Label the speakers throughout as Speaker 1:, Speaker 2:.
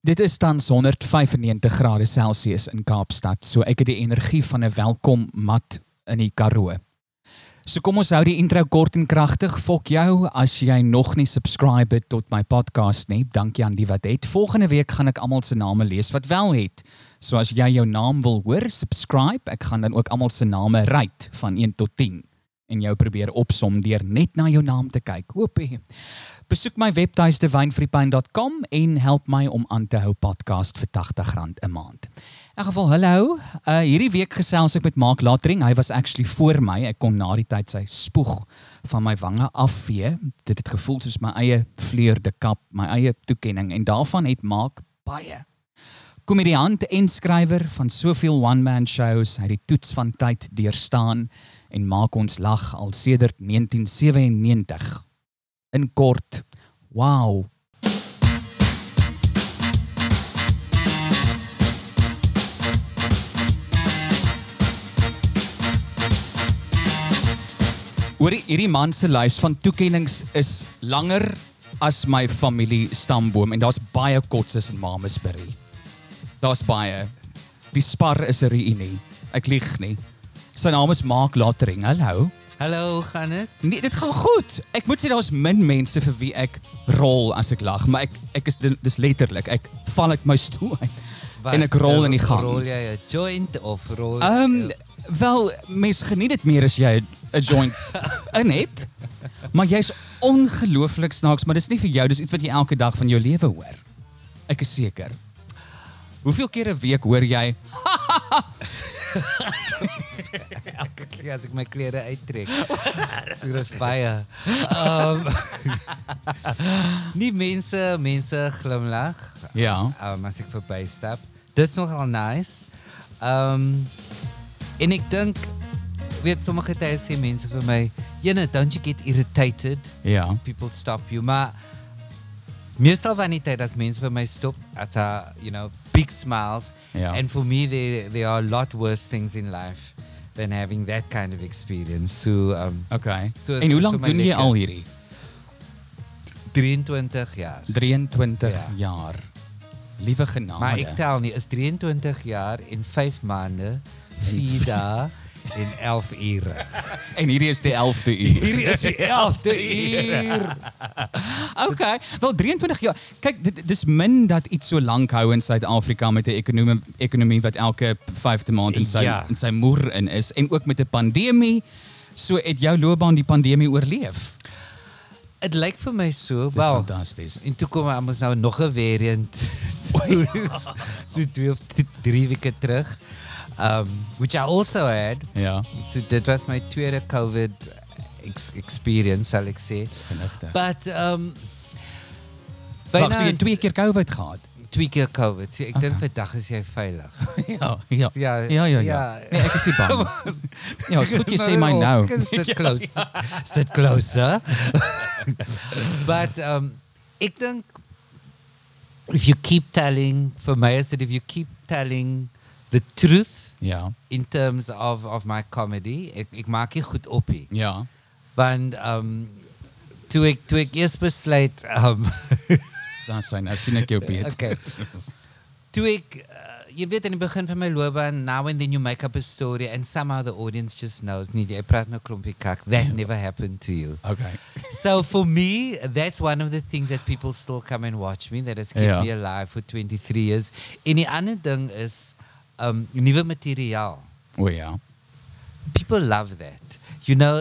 Speaker 1: Dit is tans 195 grade Celsius in Kaapstad, so ek het die energie van 'n welkom mat in die Karoo. So kom ons hou die intro kort en kragtig. Fok jou as jy nog nie subscribe het tot my podcast nie. Dankie aan die wat het. Volgende week gaan ek almal se name lees wat wel het. So as jy jou naam wil hoor, subscribe. Ek gaan dan ook almal se name rate van 1 tot 10 en jou probeer opsom deur net na jou naam te kyk. Hoopie. Besoek my webtuiste wynfreepyn.com en help my om aan te hou podcast vir R80 'n maand. In geval hallo, uh hierdie week gesels ek met Mark Latering. Hy was actually voor my. Ek kon na die tyd sy spoeg van my wange afvee. Dit het gevoel soos my eie vleurde kap, my eie toekenning en daarvan het Mark baie komediant en skrywer van soveel one-man shows, hy het die toets van tyd deurstaan en maak ons lag al sedert 1997. In kort, wow. Oor hierdie man se lys van toekenninge is langer as my familie stamboom en daar's baie kotses in Mamesbury. Daar's baie. Die spar is 'n reunie. Ek lieg nie. Sy naam is Mark Latering. Hallo.
Speaker 2: Hallo, gaan dit?
Speaker 1: Nee, dit gaan goed. Ek moet sê daar's min mense vir wie ek rol as ek lag, maar ek ek is dis letterlik. Ek val uit my stoel uit en ek rol in die gang.
Speaker 2: Rol jy 'n joint of rol?
Speaker 1: Ehm wel, mens geniet dit meer as jy 'n joint in het. Maar jy's ongelooflik snaaks, maar dis nie vir jou, dis iets wat jy elke dag van jou lewe hoor. Ek is seker. Hoeveel keer 'n week hoor jy
Speaker 2: elke keer as ek my klere uittrek. Dit is baie. Ehm nie mense, mense glimlag.
Speaker 1: ja,
Speaker 2: Ehm as ek verbystap. Dis nogal nice. Ehm en ek dink weet sommige tye sê mense vir my, "Jene, don't you get irritated?"
Speaker 1: ja.
Speaker 2: people stop you. Maar meestal van die tyd as mense vir my stop, it's a, you know, big smiles.
Speaker 1: Ja.
Speaker 2: And for me there there are a lot worse things in life than having that kind of experience. So um
Speaker 1: Okay.
Speaker 2: So is
Speaker 1: en hoe
Speaker 2: dit
Speaker 1: lank
Speaker 2: vir my
Speaker 1: doen jy
Speaker 2: lekker.
Speaker 1: al hierdie?
Speaker 2: 23 jaar.
Speaker 1: Oh, 23
Speaker 2: Ja.
Speaker 1: jaar. Liewe genade.
Speaker 2: Maar ek tel nie, is 23 jaar en 5 maande, 4 dae en 11 ure.
Speaker 1: en hierdie is die 11de uur.
Speaker 2: Hierdie is die 11de uur.
Speaker 1: Okay, wel 23 jaar. Kyk, dit dis min dat iets so lank hou in Suid-Afrika met 'n ekonomie ekonomie wat elke 5de maand in sy
Speaker 2: Ja.
Speaker 1: in sy moer in is en ook met 'n pandemie. So het jou loopbaan die pandemie oorleef.
Speaker 2: Dit lyk vir my so,
Speaker 1: Dis
Speaker 2: wel.
Speaker 1: fantasties.
Speaker 2: En toe kom hy ons nou nog 'n variant. Toe toe twee of t- drie weke terug. Um which I also had.
Speaker 1: Ja,
Speaker 2: So dit was my tweede COVID ex experience, sal ek sê.
Speaker 1: genigtig.
Speaker 2: But um
Speaker 1: Wag,
Speaker 2: byna
Speaker 1: so jy het twee keer COVID gehad.
Speaker 2: twee keer COVID. So ek dink
Speaker 1: Okay.
Speaker 2: vandag is jy veilig.
Speaker 1: Ja, ja. Ja,
Speaker 2: Ja,
Speaker 1: ja, ja.
Speaker 2: ja.
Speaker 1: Nee, ek is nie bang. Ja, is goed jy sê my
Speaker 2: Oh,
Speaker 1: nou.
Speaker 2: kan Sit close. Sit closer. but um ek dink if you keep telling for my is it if you keep telling the truth
Speaker 1: Ja,
Speaker 2: in terms of of my comedy, ek ek maak nie goed op nie.
Speaker 1: ja.
Speaker 2: Want um toe ek toe ek eers besluit um
Speaker 1: Dan sien nou sien ek jou beet.
Speaker 2: okay. Toe ek uh, jy weet in die begin van my loopbaan now and then you make up a story and somehow the audience just knows nee jy praat nou klompie kak that never happened to you.
Speaker 1: Okay.
Speaker 2: So for me that's one of the things that people still come and watch me that has kept
Speaker 1: Ja.
Speaker 2: me alive for 23 years. En die ander ding is um nuwe materiaal.
Speaker 1: O ja.
Speaker 2: People love that. You know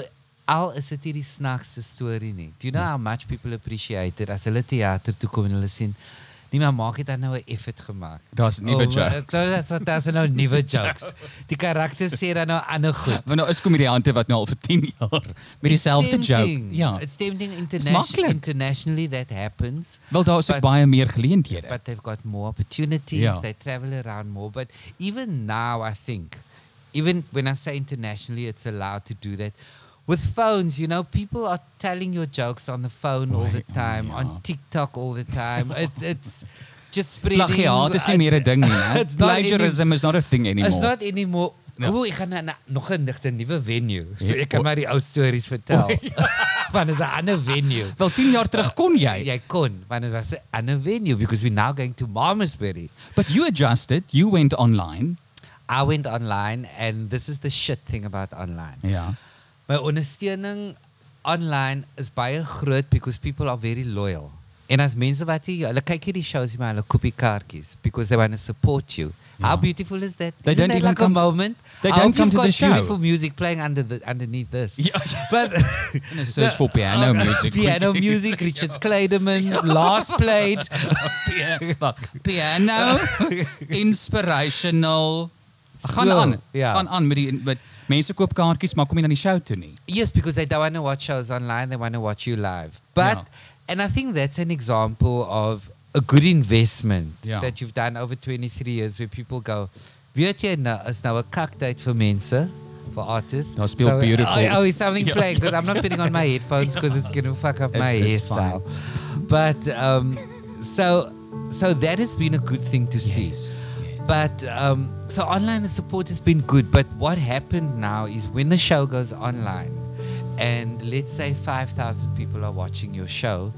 Speaker 2: Al is dit hierdie snaakse storie nie. Do you know how much people appreciate it as hulle teater toe kom en hulle sien nee maar maak dit dan nou 'n effort gemaak.
Speaker 1: Daar's nuwe
Speaker 2: Oh, maar
Speaker 1: jokes.
Speaker 2: Dat, dat, dat zijn nou nieuwe jokes. Die karakters zijn dan nou aan de goed.
Speaker 1: Want nou is komediante wat nou al vir 10 jaar met dieselfde joke.
Speaker 2: Tempting.
Speaker 1: Ja.
Speaker 2: It's tempting
Speaker 1: makkelijk.
Speaker 2: internationally, internationally that happens.
Speaker 1: Wel daar is ook
Speaker 2: But-
Speaker 1: baie meer geleenthede.
Speaker 2: But they've got more opportunities.
Speaker 1: Ja.
Speaker 2: They travel around more. But even now, I think, even when I say internationally, it's allowed to do that. With phones, you know, people are telling your jokes on the phone all the
Speaker 1: Oei,
Speaker 2: time,
Speaker 1: ja.
Speaker 2: on TikTok all the time. it, it's just spreading.
Speaker 1: Plagiaat is nie
Speaker 2: it's-
Speaker 1: meer 'n ding nie. hè?
Speaker 2: it's not
Speaker 1: Plagiarism is not a thing
Speaker 2: It's
Speaker 1: anymore.
Speaker 2: not anymore.
Speaker 1: Ja.
Speaker 2: Oeh, ik ga naar, naar nog een, echt een nieuwe venue. So
Speaker 1: Ja,
Speaker 2: ik kan
Speaker 1: oh.
Speaker 2: maar die oude stories vertellen. want is 'n ander venue.
Speaker 1: Wel 10 jaar terug kon jy.
Speaker 2: Jy kon, want dit was 'n ander venue because we're now going to Malmesbury.
Speaker 1: But you adjusted, you went online.
Speaker 2: I went online and this is the shit thing about online.
Speaker 1: Ja.
Speaker 2: My ondersteuning online is baie groot because people are very loyal. En as mense wat hier, hulle kyk hierdie shows nie, maar hulle koop die kaartjies because they want to support you. How beautiful is that?
Speaker 1: They
Speaker 2: Isn't
Speaker 1: don't
Speaker 2: that
Speaker 1: even
Speaker 2: like
Speaker 1: come-
Speaker 2: a moment.
Speaker 1: they
Speaker 2: I
Speaker 1: don't
Speaker 2: hope
Speaker 1: come
Speaker 2: you've
Speaker 1: to
Speaker 2: got
Speaker 1: the show.
Speaker 2: Beautiful music playing under the underneath this.
Speaker 1: Ja.
Speaker 2: But
Speaker 1: In a search for piano music.
Speaker 2: Ja. piano music, Richard Clayderman, last played.
Speaker 1: piano inspirational gaan
Speaker 2: Ja. So,
Speaker 1: aan.
Speaker 2: ja.
Speaker 1: Gaan aan met die met mense koop kaartjies maar kom nie na die show toe nie.
Speaker 2: Yes, because they don't want to watch shows online, they want to watch you live. But,
Speaker 1: Yeah.
Speaker 2: and I think that's an example of a good investment
Speaker 1: Yeah.
Speaker 2: that you've done over 23 years where people go, weet jy nou, is nou 'n kakdate vir mense, vir artists.
Speaker 1: Daar speel beautiful.
Speaker 2: Oh, oh, is something
Speaker 1: Ja.
Speaker 2: playing because I'm not putting on my headphones because it's going to fuck up my
Speaker 1: It's- it's
Speaker 2: hairstyle. But um, so so that has been a good thing to
Speaker 1: Yes,
Speaker 2: see. But um, so online the support has been good. But what happened now is when the show goes online, and let's say five thousand people are watching your show,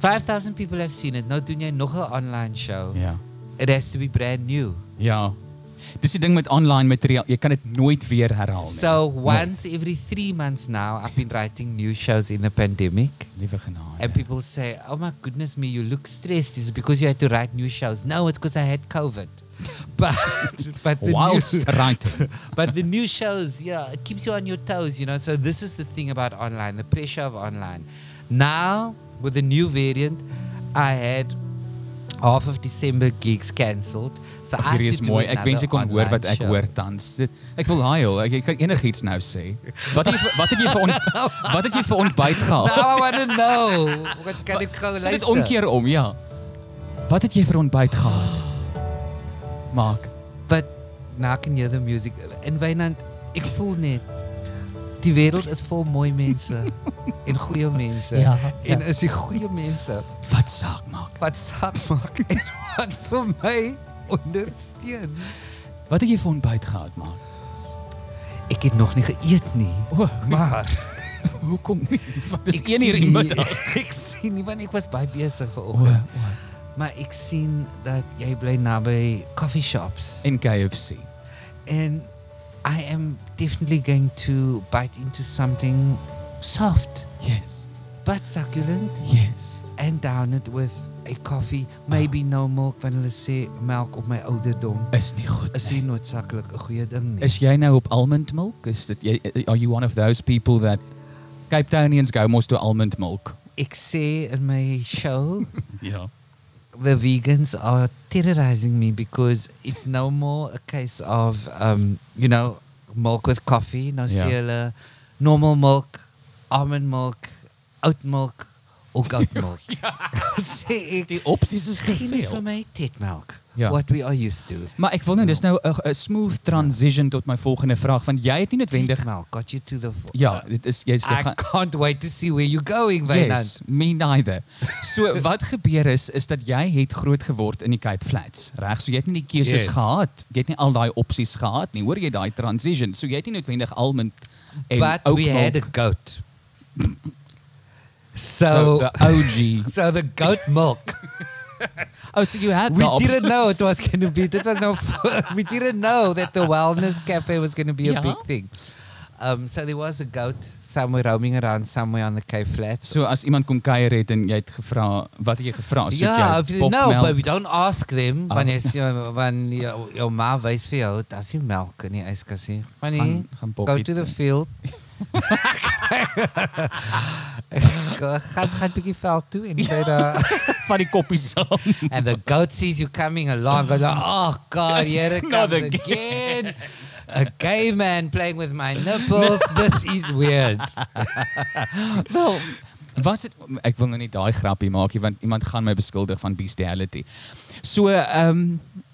Speaker 2: five thousand people have seen it. Nou doen jy nog 'n online show.
Speaker 1: Ja.
Speaker 2: It has to be brand new.
Speaker 1: Ja. Dis die ding met online materiaal, jy kan dit nooit weer herhaal nie.
Speaker 2: So once every three months now, I've been writing new shows in the pandemic.
Speaker 1: liewe genade.
Speaker 2: And people say, "Oh my goodness me, you look stressed. Is it because you had to write new shows?" No, it's because I had COVID. But but the
Speaker 1: whilst
Speaker 2: new,
Speaker 1: writing.
Speaker 2: but the new shows, yeah, it keeps you on your toes, you know. So this is the thing about online, the pressure of online. Now with the new variant, I had half of December gigs cancelled. So I
Speaker 1: Hierdie is
Speaker 2: had to do
Speaker 1: mooi. Ek
Speaker 2: another
Speaker 1: wens ek kon hoor
Speaker 2: online
Speaker 1: wat ek
Speaker 2: show.
Speaker 1: hoor tans. Dit- Ek wil huil. Ek, ek kan enigiets nou sê. Wat het jy vir- wat het jy vir ont,
Speaker 2: Nou.
Speaker 1: wat het jy vir ontbyt
Speaker 2: Now
Speaker 1: gehaal?
Speaker 2: I want to know. Wat kan ek gou
Speaker 1: Sit dit
Speaker 2: Nou, luister?
Speaker 1: omkeer om, ja. Wat het jy vir ontbyt gehad? Maak.
Speaker 2: But nou kan jy die musiek in Wynand ek voel net die wêreld is vol mooi mense en goeie mense.
Speaker 1: Ja, ja.
Speaker 2: En is die goeie mense
Speaker 1: Wat saak maak?
Speaker 2: wat saak maak en wat vir my ondersteun.
Speaker 1: Wat het jy vir ontbyt gehad, maak?
Speaker 2: Ek het nog nie geëet nie.
Speaker 1: O,
Speaker 2: Maar
Speaker 1: hoekom nie? Want Dis
Speaker 2: ek
Speaker 1: 1 uur in
Speaker 2: sien
Speaker 1: die
Speaker 2: nie-
Speaker 1: middag.
Speaker 2: Ek sien nie want ek was baie besig
Speaker 1: O,
Speaker 2: vanoggend.
Speaker 1: o.
Speaker 2: Maar ek sien dat jy bly naby coffee shops.
Speaker 1: En KFC.
Speaker 2: and I am definitely going to bite into something soft
Speaker 1: Yes.
Speaker 2: but succulent
Speaker 1: Yes.
Speaker 2: and down it with a coffee, maybe no milk want hulle sê melk op my ouderdom
Speaker 1: Is nie goed
Speaker 2: is
Speaker 1: nie.
Speaker 2: nie noodsaaklik 'n goeie ding nie.
Speaker 1: Is jy nou op almond milk? Is dit jy eh, are you one of those people that Cape Townians go mos to almond milk?
Speaker 2: Ek sê in my show
Speaker 1: Ja.
Speaker 2: the vegans are terrorizing me because it's no more a case of um, you know milk with coffee. No
Speaker 1: Yeah.
Speaker 2: hulle normal milk, almond milk, oat milk or goat milk. Sê ek,
Speaker 1: Die opsies is te
Speaker 2: "Gee my vir
Speaker 1: veel.
Speaker 2: my teetmelk.
Speaker 1: Ja.
Speaker 2: What we are used to.
Speaker 1: Maar ek wil nou dis nou 'n g- 'n smooth transition tot my volgende vraag want jy het nie noodwendig
Speaker 2: Teetmelk got you to the. f-
Speaker 1: Ja, dit is jy's jy
Speaker 2: I
Speaker 1: gaan
Speaker 2: can't wait to see where you're going, Wynand.
Speaker 1: Yes, me neither. So wat gebeur is is dat jy het groot geword in die Cape Flats, reg? So jy het nie die keuses
Speaker 2: Yes.
Speaker 1: gehad. Jy het nie al daai opsies gehad nie. Hoor jy daai transition? So jy het nie noodwendig almond en
Speaker 2: But
Speaker 1: oat
Speaker 2: we had a
Speaker 1: milk.
Speaker 2: goat.
Speaker 1: so
Speaker 2: So,
Speaker 1: the OG.
Speaker 2: so the goat milk.
Speaker 1: Oh, so you had
Speaker 2: We
Speaker 1: the option.
Speaker 2: didn't know it was going to be. That was no. we didn't know that the wellness cafe was going to be
Speaker 1: Yeah.
Speaker 2: a big thing. Um, so there was a goat somewhere roaming around somewhere on the Cape Flats.
Speaker 1: So as iemand kom kuier het en jy het gevra, wat het jy gevra? Soek
Speaker 2: yeah, if
Speaker 1: jy
Speaker 2: you- no,
Speaker 1: popmelk?
Speaker 2: but we don't ask them
Speaker 1: Ah.
Speaker 2: when it's you know, when your, your ma wys vir jou daar's nie melk in die yskas nie. Gaan nie.
Speaker 1: Gaan- gaan
Speaker 2: Go
Speaker 1: poppie
Speaker 2: to the
Speaker 1: drink.
Speaker 2: field. gaan gaan bietjie veld toe en sê daar
Speaker 1: van die koppies saam.
Speaker 2: and the goat sees you coming along, goes like, "Oh God, here it
Speaker 1: Not
Speaker 2: comes again." A gay man playing with my nipples. this is weird.
Speaker 1: Wel, was dit ek wil nou nie daai grappie maak nie want iemand gaan my beskuldig van bestiality. So, ehm um,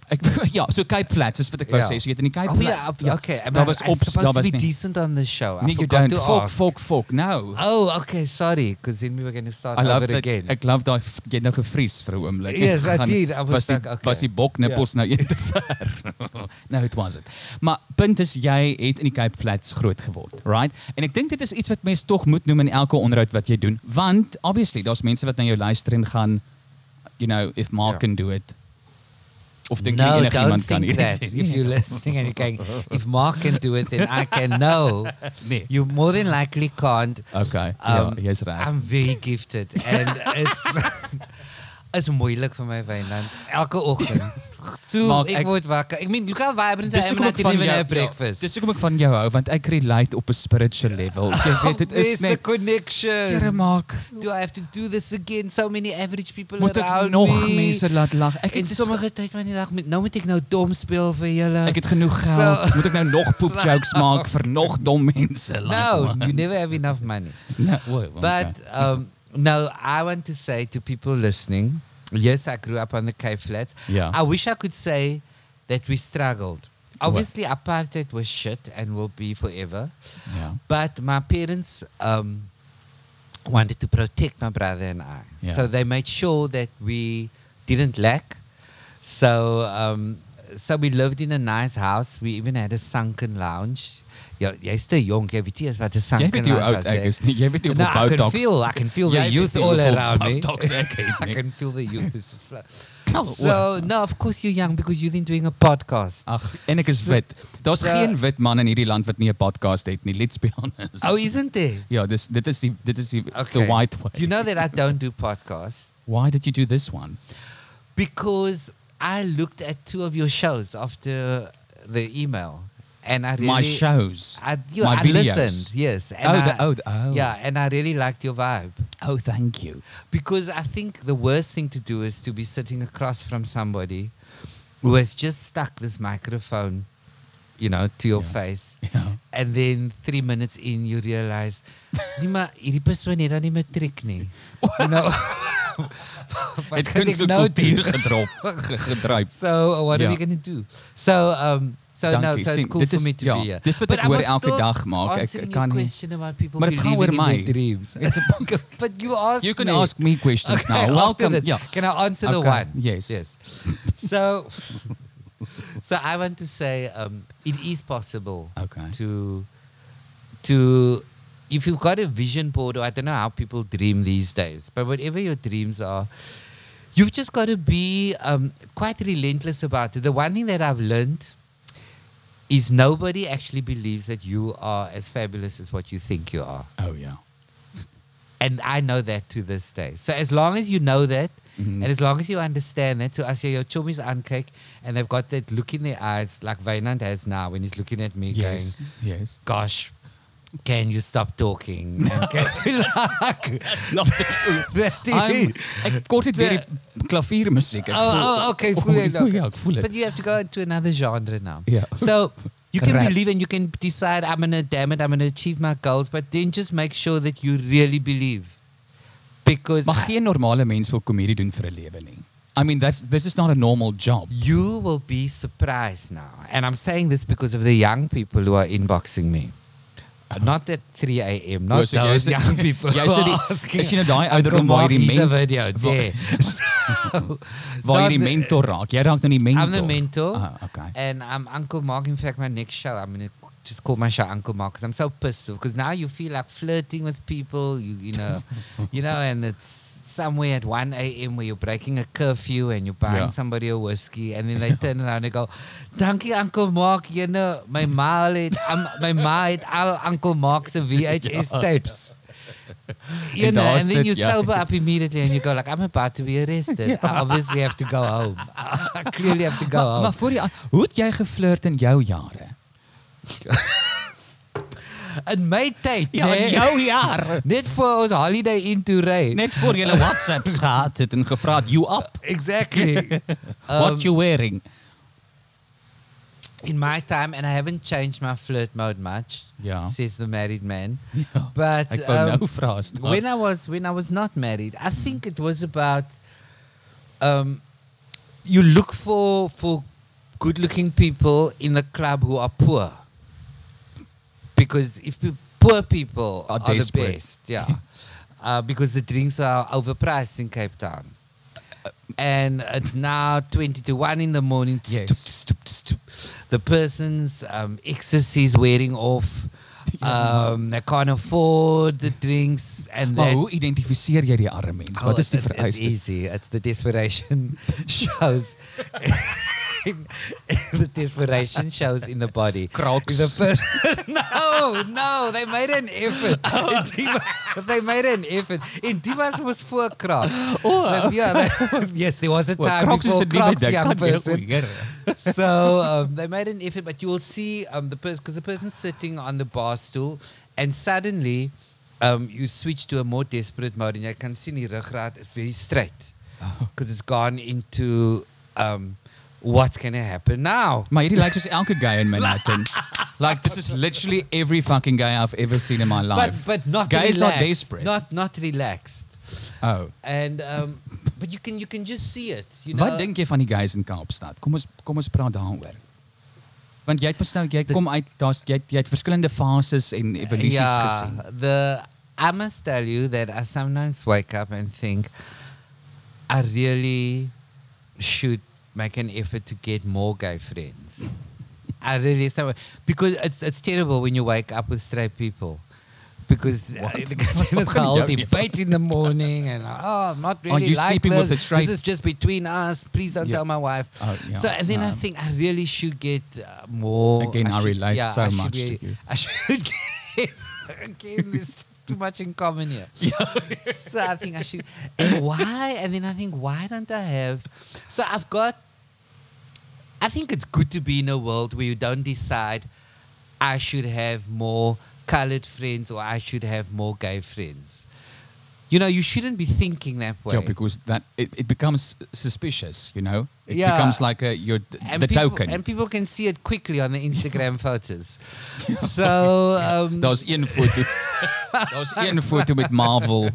Speaker 1: Ek ja, so Cape Flats is wat ek wou
Speaker 2: Ja.
Speaker 1: sê. So jy het in die Cape
Speaker 2: Oh
Speaker 1: Flats.
Speaker 2: yeah, okay. I mean,
Speaker 1: Daar was
Speaker 2: I'm
Speaker 1: op
Speaker 2: supposed
Speaker 1: daar
Speaker 2: to
Speaker 1: was
Speaker 2: be
Speaker 1: nie.
Speaker 2: decent on this show. I
Speaker 1: Nee, you
Speaker 2: forgot
Speaker 1: don't.
Speaker 2: to
Speaker 1: Fok,
Speaker 2: ask.
Speaker 1: fok, fok. Nou. No.
Speaker 2: Oh, okay, sorry, because then we were going to start
Speaker 1: I
Speaker 2: over
Speaker 1: love that.
Speaker 2: again.
Speaker 1: Ek love daai f- jy het nou gevries vir 'n oomblik. Jy
Speaker 2: Yes, I
Speaker 1: gaan-
Speaker 2: did. I was
Speaker 1: was die
Speaker 2: like, okay.
Speaker 1: was die boknippels nou een te ver. Nou, no, it wasn't. Maar punt is jy het in die Cape Flats groot geword, right? En ek dink dit is iets wat mense tog moet noem in elke onderhoud wat jy doen, want obviously daar's mense wat na jou luister en gaan you know, if Mark
Speaker 2: Ja.
Speaker 1: can do it. Of dink
Speaker 2: no,
Speaker 1: jy
Speaker 2: don't
Speaker 1: enigiemand kan
Speaker 2: think that.
Speaker 1: hierdie
Speaker 2: if you're listening and you're going, if Mark can do it, then I can. No,
Speaker 1: Nee.
Speaker 2: you more than likely can't.
Speaker 1: Okay.
Speaker 2: Um,
Speaker 1: ja, jy's reg.
Speaker 2: I'm very gifted and it's is moeilik vir my Wynand. Elke oggend. So
Speaker 1: Maak
Speaker 2: ek,
Speaker 1: ek-
Speaker 2: word wakker. Ek meen, look how vibrant I
Speaker 1: Dis
Speaker 2: am
Speaker 1: hoekom
Speaker 2: and I
Speaker 1: ek
Speaker 2: didn't
Speaker 1: van
Speaker 2: even
Speaker 1: jou
Speaker 2: have breakfast.
Speaker 1: Dis hoekom ek van jou hou want ek relate op 'n spiritual level. Jy weet dit is
Speaker 2: Where's the
Speaker 1: net Here
Speaker 2: connection.
Speaker 1: maak.
Speaker 2: Do I have to do this again? So many average people
Speaker 1: Moet ek
Speaker 2: around
Speaker 1: nog
Speaker 2: me.
Speaker 1: mense laat lag? Ek
Speaker 2: en
Speaker 1: het sommige
Speaker 2: sommige tyd van die dag met nou moet ek nou dom speel vir julle.
Speaker 1: ek het genoeg geld. Moet ek nou nog poep jokes maak vir nog dom mense? Nou,
Speaker 2: No, you never have enough money.
Speaker 1: no wait,
Speaker 2: Nou. But um, no, I want to say to people listening, yes, I grew up on the Cape Flats.
Speaker 1: Yeah.
Speaker 2: I wish I could say that we struggled. Obviously, apartheid was shit and will be forever.
Speaker 1: yeah.
Speaker 2: But my parents um, wanted to protect my brother and I.
Speaker 1: Yeah.
Speaker 2: So they made sure that we didn't lack. So um, so we lived in a nice house. We even had a sunken lounge. Ja, jy's te jonk, jy weet nie eens wat 'n
Speaker 1: Jy
Speaker 2: sunken
Speaker 1: weet hoe oud
Speaker 2: lounge was
Speaker 1: ek
Speaker 2: nie.
Speaker 1: is nie. Jy weet hoe
Speaker 2: No, I
Speaker 1: veel
Speaker 2: can
Speaker 1: botox.
Speaker 2: feel, I can feel
Speaker 1: Jy
Speaker 2: the
Speaker 1: weet
Speaker 2: youth
Speaker 1: nie
Speaker 2: all
Speaker 1: hoeveel
Speaker 2: around me.
Speaker 1: Botox ek het
Speaker 2: I
Speaker 1: nie.
Speaker 2: can feel the youth is just fla-
Speaker 1: Oh,
Speaker 2: So, no, of course you're young because you've been doing a podcast.
Speaker 1: Ag, en ek is wit. Daar's
Speaker 2: Ja.
Speaker 1: geen wit man in hierdie land wat nie 'n podcast het nie. Let's be honest.
Speaker 2: Oh, isn't there?
Speaker 1: Ja, dis dit is die dit is die it's the
Speaker 2: Okay.
Speaker 1: white way.
Speaker 2: You know that I don't do podcasts
Speaker 1: Why did you do this one?
Speaker 2: because I looked at two of your shows after the email and I really
Speaker 1: My shows.
Speaker 2: I, you,
Speaker 1: my
Speaker 2: I
Speaker 1: videos.
Speaker 2: listened, yes. And
Speaker 1: Oh,
Speaker 2: I,
Speaker 1: the- oh, the- oh.
Speaker 2: Yeah, and I really liked your vibe.
Speaker 1: Oh, thank you.
Speaker 2: Because I think the worst thing to do is to be sitting across from somebody who has just stuck this microphone, you know, to your face.
Speaker 1: Yeah.
Speaker 2: And then three minutes in, you realize, nee, maar hierdie persoon het dan nie meer trek nie. You know? Wat
Speaker 1: Het
Speaker 2: gaan
Speaker 1: kuns nou
Speaker 2: ek nou doen?
Speaker 1: kultuur gedrop, ge- gedryf.
Speaker 2: So uh, what are
Speaker 1: Ja.
Speaker 2: we going to do? So um so
Speaker 1: Dankie,
Speaker 2: no, so it's
Speaker 1: sien,
Speaker 2: cool
Speaker 1: dit
Speaker 2: for
Speaker 1: is-
Speaker 2: me to
Speaker 1: ja,
Speaker 2: be here.
Speaker 1: dis wat
Speaker 2: But
Speaker 1: ek
Speaker 2: I
Speaker 1: hoor
Speaker 2: was
Speaker 1: elke
Speaker 2: still
Speaker 1: dag maak. Ek-
Speaker 2: answering
Speaker 1: ek kan
Speaker 2: your
Speaker 1: nie-
Speaker 2: question about people
Speaker 1: Maar dit gaan
Speaker 2: believing
Speaker 1: oor
Speaker 2: in their
Speaker 1: my.
Speaker 2: dreams.
Speaker 1: It's a
Speaker 2: but you asked
Speaker 1: You can
Speaker 2: me.
Speaker 1: ask me questions
Speaker 2: Okay,
Speaker 1: now.
Speaker 2: after
Speaker 1: Welcome. ja.
Speaker 2: this.
Speaker 1: Yeah.
Speaker 2: Can I answer the
Speaker 1: Okay,
Speaker 2: one?
Speaker 1: yes.
Speaker 2: Yes. So so I want to say um, it is possible
Speaker 1: Okay.
Speaker 2: to to if you've got a vision board or I don't know how people dream these days, but whatever your dreams are, you've just got to be um, quite relentless about it. The one thing that I've learned is nobody actually believes that you are as fabulous as what you think you are.
Speaker 1: Oh yeah.
Speaker 2: And I know that to this day. So as long as you know that,
Speaker 1: Mm-hmm.
Speaker 2: and as long as you understand that, so as your chummies unkick and they've got that look in their eyes, like Vainant has now when he's looking at me
Speaker 1: Yes.
Speaker 2: going,
Speaker 1: Yes.
Speaker 2: gosh, can you stop talking? And can you like
Speaker 1: It's not the truth.
Speaker 2: that
Speaker 1: I'm,
Speaker 2: is-
Speaker 1: ek kort dit weer die klaviermusiek. Ek
Speaker 2: Ja. Oh,
Speaker 1: voel-
Speaker 2: oh, okay, voel jy
Speaker 1: O,
Speaker 2: nou?
Speaker 1: Ja, ek voel
Speaker 2: But
Speaker 1: dit.
Speaker 2: you have to go into another genre now.
Speaker 1: Yeah.
Speaker 2: So you can
Speaker 1: Correct.
Speaker 2: believe and you can decide, I'm going to, damn it, I'm going to achieve my goals, but then just make sure that you really believe. Because
Speaker 1: Maar geen normale mens wil komedie doen vir 'n lewe nie. I mean that's this is not a normal job.
Speaker 2: you will be surprised now. And I'm saying this because of the young people who are inboxing me. Uh, Not at 3 a.m., not
Speaker 1: O, Uh-huh. so jy is
Speaker 2: those
Speaker 1: die-
Speaker 2: young people.
Speaker 1: jy is
Speaker 2: who
Speaker 1: die-
Speaker 2: are asking,
Speaker 1: is jy nou daai
Speaker 2: "Uncle
Speaker 1: ouderdom waar
Speaker 2: Mark,
Speaker 1: hierdie
Speaker 2: hier's 'n
Speaker 1: men-
Speaker 2: video there." So-
Speaker 1: Waar jy die
Speaker 2: Not-
Speaker 1: mentor raak. Jy raak nou die mentor.
Speaker 2: I'm the mentor.
Speaker 1: Ah, okay.
Speaker 2: And I'm Uncle Mark. In fact, my next show, I'm going to just call my show Uncle Mark because I'm so pissed Because now you feel like flirting with people, you, you know, you know, and it's somewhere at 1 a.m. where you're breaking a curfew and you're buying
Speaker 1: Yeah.
Speaker 2: somebody a whiskey. And then they turn around and go, Thank you, Uncle Mark. You know, my ma, het, um, my ma had all Uncle Mark's VHS tapes. You
Speaker 1: En
Speaker 2: know,
Speaker 1: daar
Speaker 2: and then
Speaker 1: sit
Speaker 2: you
Speaker 1: jy.
Speaker 2: sober up immediately and you go like, I'm about to be arrested. I obviously have to go home. I clearly have to go
Speaker 1: Maar,
Speaker 2: home.
Speaker 1: maar voor jy hoe het jy geflirt in jou jare?
Speaker 2: In my tyd, nee,
Speaker 1: jaar.
Speaker 2: net voor ons holiday in toe ry.
Speaker 1: Net voor jy 'n WhatsApps gehad het en gevra het, "You up?
Speaker 2: Exactly. Um,
Speaker 1: What you wearing?"
Speaker 2: in my time and I haven't changed my flirt mode much.
Speaker 1: Yeah.
Speaker 2: Says the married man.
Speaker 1: Ja,
Speaker 2: But
Speaker 1: Ek wou
Speaker 2: um,
Speaker 1: nou vra Hmm. as daar-
Speaker 2: when I was when I was not married, I think it was about um, you look for for good looking people in the club who are poor. Because if pe- poor people
Speaker 1: Are
Speaker 2: are, the
Speaker 1: desperate.
Speaker 2: best, yeah. uh, because the drinks are overpriced in Cape Town.
Speaker 1: Uh,
Speaker 2: And it's now 20 to 1 in the morning.
Speaker 1: Yes.
Speaker 2: Stoop, stoop, stoop. The person's um, ecstasy is wearing off. Um, they can't afford the drinks. And
Speaker 1: Maar
Speaker 2: that
Speaker 1: hoe identifiseer jy die arme mens? Wat is die
Speaker 2: it's- It's
Speaker 1: vereistes?
Speaker 2: easy. It's the desperation shows. the desperation shows in the body.
Speaker 1: Crocs.
Speaker 2: The first, no, no, they made an effort. Indiva- they made an effort. Indivas was for Crocs. Oh, yeah, they- yes, there was a
Speaker 1: Wel,
Speaker 2: time before
Speaker 1: het nie
Speaker 2: Crocs,
Speaker 1: net-
Speaker 2: young
Speaker 1: kan jy
Speaker 2: person
Speaker 1: hoor.
Speaker 2: so um, they made an effort, but you will see um, the person because the person's sitting on the bar stool, and suddenly um, you switch to a more desperate mode, and you can see the rugrat is very straight
Speaker 1: Oh.
Speaker 2: because it's gone into um, what's going to happen now.
Speaker 1: Maar hierdie lyk soos elke guy in Manhattan. Like this is literally every fucking guy I've ever seen in my
Speaker 2: But
Speaker 1: life.
Speaker 2: but not
Speaker 1: guys
Speaker 2: relaxed,
Speaker 1: are desperate.
Speaker 2: Not not relaxed,
Speaker 1: oh.
Speaker 2: and um, but you can you can just see it. You know?
Speaker 1: Wat dink jy van die guys in Kaapstad? Kom ons kom ons praat daaroor. Want jy het mos nou jy kom uit daar's jy het- jy het verskillende fases en evolusies
Speaker 2: Ja,
Speaker 1: gesien.
Speaker 2: The I must tell you that I sometimes wake up and think I really should make an effort to get more gay friends. I really some because it's it's terrible when you wake up with straight people. Because uh, because then it's a whole
Speaker 1: Don't you-
Speaker 2: debate in the morning, and oh, I'm not really
Speaker 1: you
Speaker 2: like
Speaker 1: sleeping
Speaker 2: this.
Speaker 1: with a straight-
Speaker 2: This is just between us. Please don't
Speaker 1: Yeah.
Speaker 2: tell my wife.
Speaker 1: Oh, yeah.
Speaker 2: So and then I
Speaker 1: No.
Speaker 2: think I really should get uh, more.
Speaker 1: Again, I
Speaker 2: should-
Speaker 1: relate so
Speaker 2: should
Speaker 1: much to you.
Speaker 2: I should get again. There's too much in common here. so I think I should. And why? And then I think why don't I have? So I've got. I think it's good to be in a world where you don't decide. I should have more colored friends, or I should have more gay friends. You know, you shouldn't be thinking that way.
Speaker 1: Yeah, Ja, because that it, it becomes suspicious, you know. It
Speaker 2: Yeah.
Speaker 1: becomes like a you're d-
Speaker 2: Ja. and
Speaker 1: the
Speaker 2: people,
Speaker 1: token.
Speaker 2: and people can see it quickly on the Instagram photos. So um,
Speaker 1: Daar's een foto. Daar's een foto met Marvel.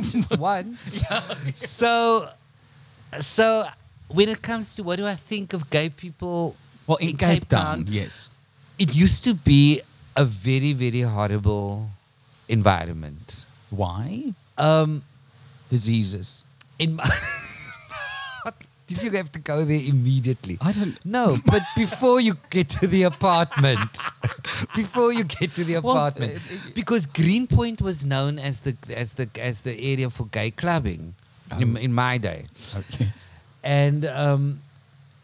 Speaker 2: just one. So, so when it comes to what do I think of gay people?
Speaker 1: well, in, Cape, Town, yes.
Speaker 2: it used to be a very, very horrible environment.
Speaker 1: Why?
Speaker 2: Um,
Speaker 1: Diseases.
Speaker 2: in my did you have to go there immediately?
Speaker 1: I don't
Speaker 2: No, but before you get to the apartment, before you get to the
Speaker 1: Well,
Speaker 2: apartment, because Greenpoint was known as the as the as the area for gay clubbing
Speaker 1: Oh.
Speaker 2: in, in my day.
Speaker 1: Okay.
Speaker 2: and um,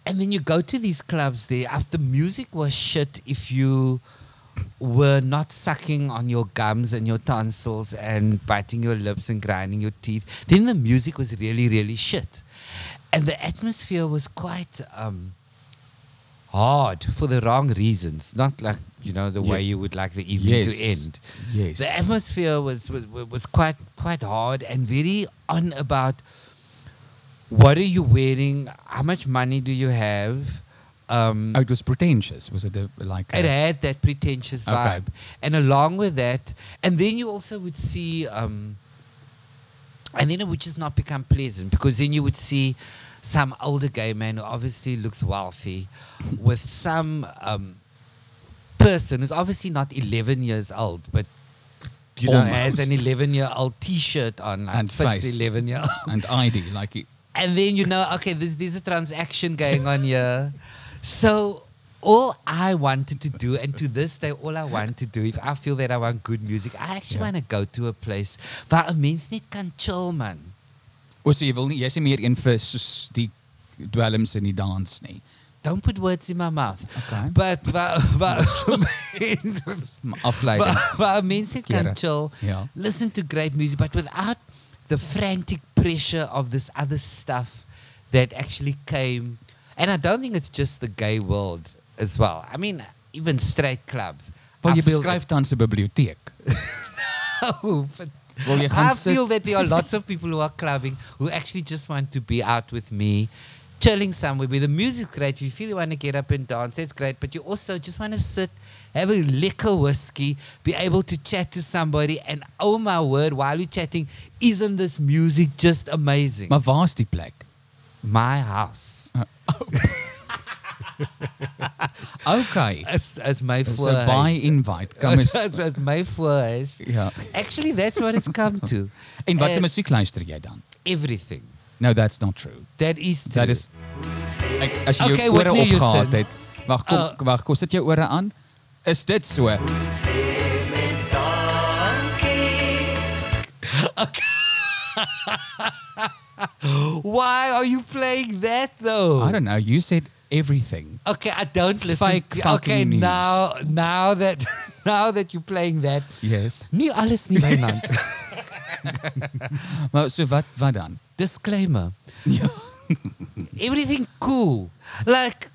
Speaker 2: and then you go to these clubs there. uh, The music was shit if you were not sucking on your gums and your tonsils and biting your lips and grinding your teeth. Then the music was really really shit, and the atmosphere was quite. Um, Hard for the wrong reasons, not like you know the way
Speaker 1: Yeah.
Speaker 2: you would like the evening to
Speaker 1: Yes.
Speaker 2: end.
Speaker 1: Yes.
Speaker 2: The atmosphere was, was was quite quite hard and very on about what are you wearing? How much money do you have? Um,
Speaker 1: Oh, it was pretentious. Was it a, like
Speaker 2: It
Speaker 1: a-
Speaker 2: had that pretentious
Speaker 1: Okay.
Speaker 2: vibe, and along with that, and then you also would see, um, and then it would just not become pleasant because then you would see some older gay man who obviously looks wealthy, with some um, person who's obviously not eleven years old, but. You know, has an
Speaker 1: Almost.
Speaker 2: 11 year old t shirt on, like,
Speaker 1: And
Speaker 2: fits
Speaker 1: face.
Speaker 2: 11 year old.
Speaker 1: and ID like it,
Speaker 2: And then you know, okay, there's, there's a transaction going on here. So all I wanted to do, and to this day, all I want to do, if I feel that I want good music, I actually
Speaker 1: Yeah.
Speaker 2: want to go to a place where a mens net kan chill, man.
Speaker 1: O, so jy wil nie jy's nie meer een vir soos die dwelms in die dans nie.
Speaker 2: Don't put words in my mouth.
Speaker 1: Okay.
Speaker 2: But waar waar mens
Speaker 1: Maar Afleiding.
Speaker 2: waar- waar mens net kan
Speaker 1: Kere.
Speaker 2: chill.
Speaker 1: Ja.
Speaker 2: Listen to great music, but without the frantic pressure of this other stuff that actually came. And I don't think it's just the gay world as well. I mean, even straight clubs. I
Speaker 1: Wil jy
Speaker 2: feel
Speaker 1: beskryf tans 'n biblioteek?
Speaker 2: that- Oh, but
Speaker 1: Wil jy gaan
Speaker 2: I
Speaker 1: sit?
Speaker 2: feel that there are lots of people who are clubbing who actually just want to be out with me, chilling somewhere where the music's great. You feel you want to get up and dance, that's great. But you also just want to sit, have a liquor whiskey, be able to chat to somebody. And oh my word, while you're chatting, isn't this music just amazing?
Speaker 1: Uh, Maar waar's die plek?
Speaker 2: My house.
Speaker 1: Okay.
Speaker 2: As as my
Speaker 1: So by
Speaker 2: voorhuis.
Speaker 1: invite kom ons
Speaker 2: As, as, as my voorhuis.
Speaker 1: ja.
Speaker 2: Actually that's what it's come to.
Speaker 1: En wat se
Speaker 2: Eh,
Speaker 1: musiek luister jy dan?
Speaker 2: Everything.
Speaker 1: No, that's not true.
Speaker 2: That is true.
Speaker 1: That is ek, as jy
Speaker 2: Okay,
Speaker 1: jou ore
Speaker 2: Whitney Houston.
Speaker 1: opgehaal het. Wag, kom,
Speaker 2: Oh.
Speaker 1: wag, kom sit jou ore aan. Is dit so?
Speaker 2: Why are you playing that though?
Speaker 1: I don't know. You said everything.
Speaker 2: Okay, I don't listen.
Speaker 1: Fake
Speaker 2: to-
Speaker 1: fucking
Speaker 2: okay,
Speaker 1: news.
Speaker 2: now now that now that you're playing that,
Speaker 1: Yes.
Speaker 2: nie alles nie Wynand.
Speaker 1: Maar so wat wat dan?
Speaker 2: Disclaimer. Everything cool. Like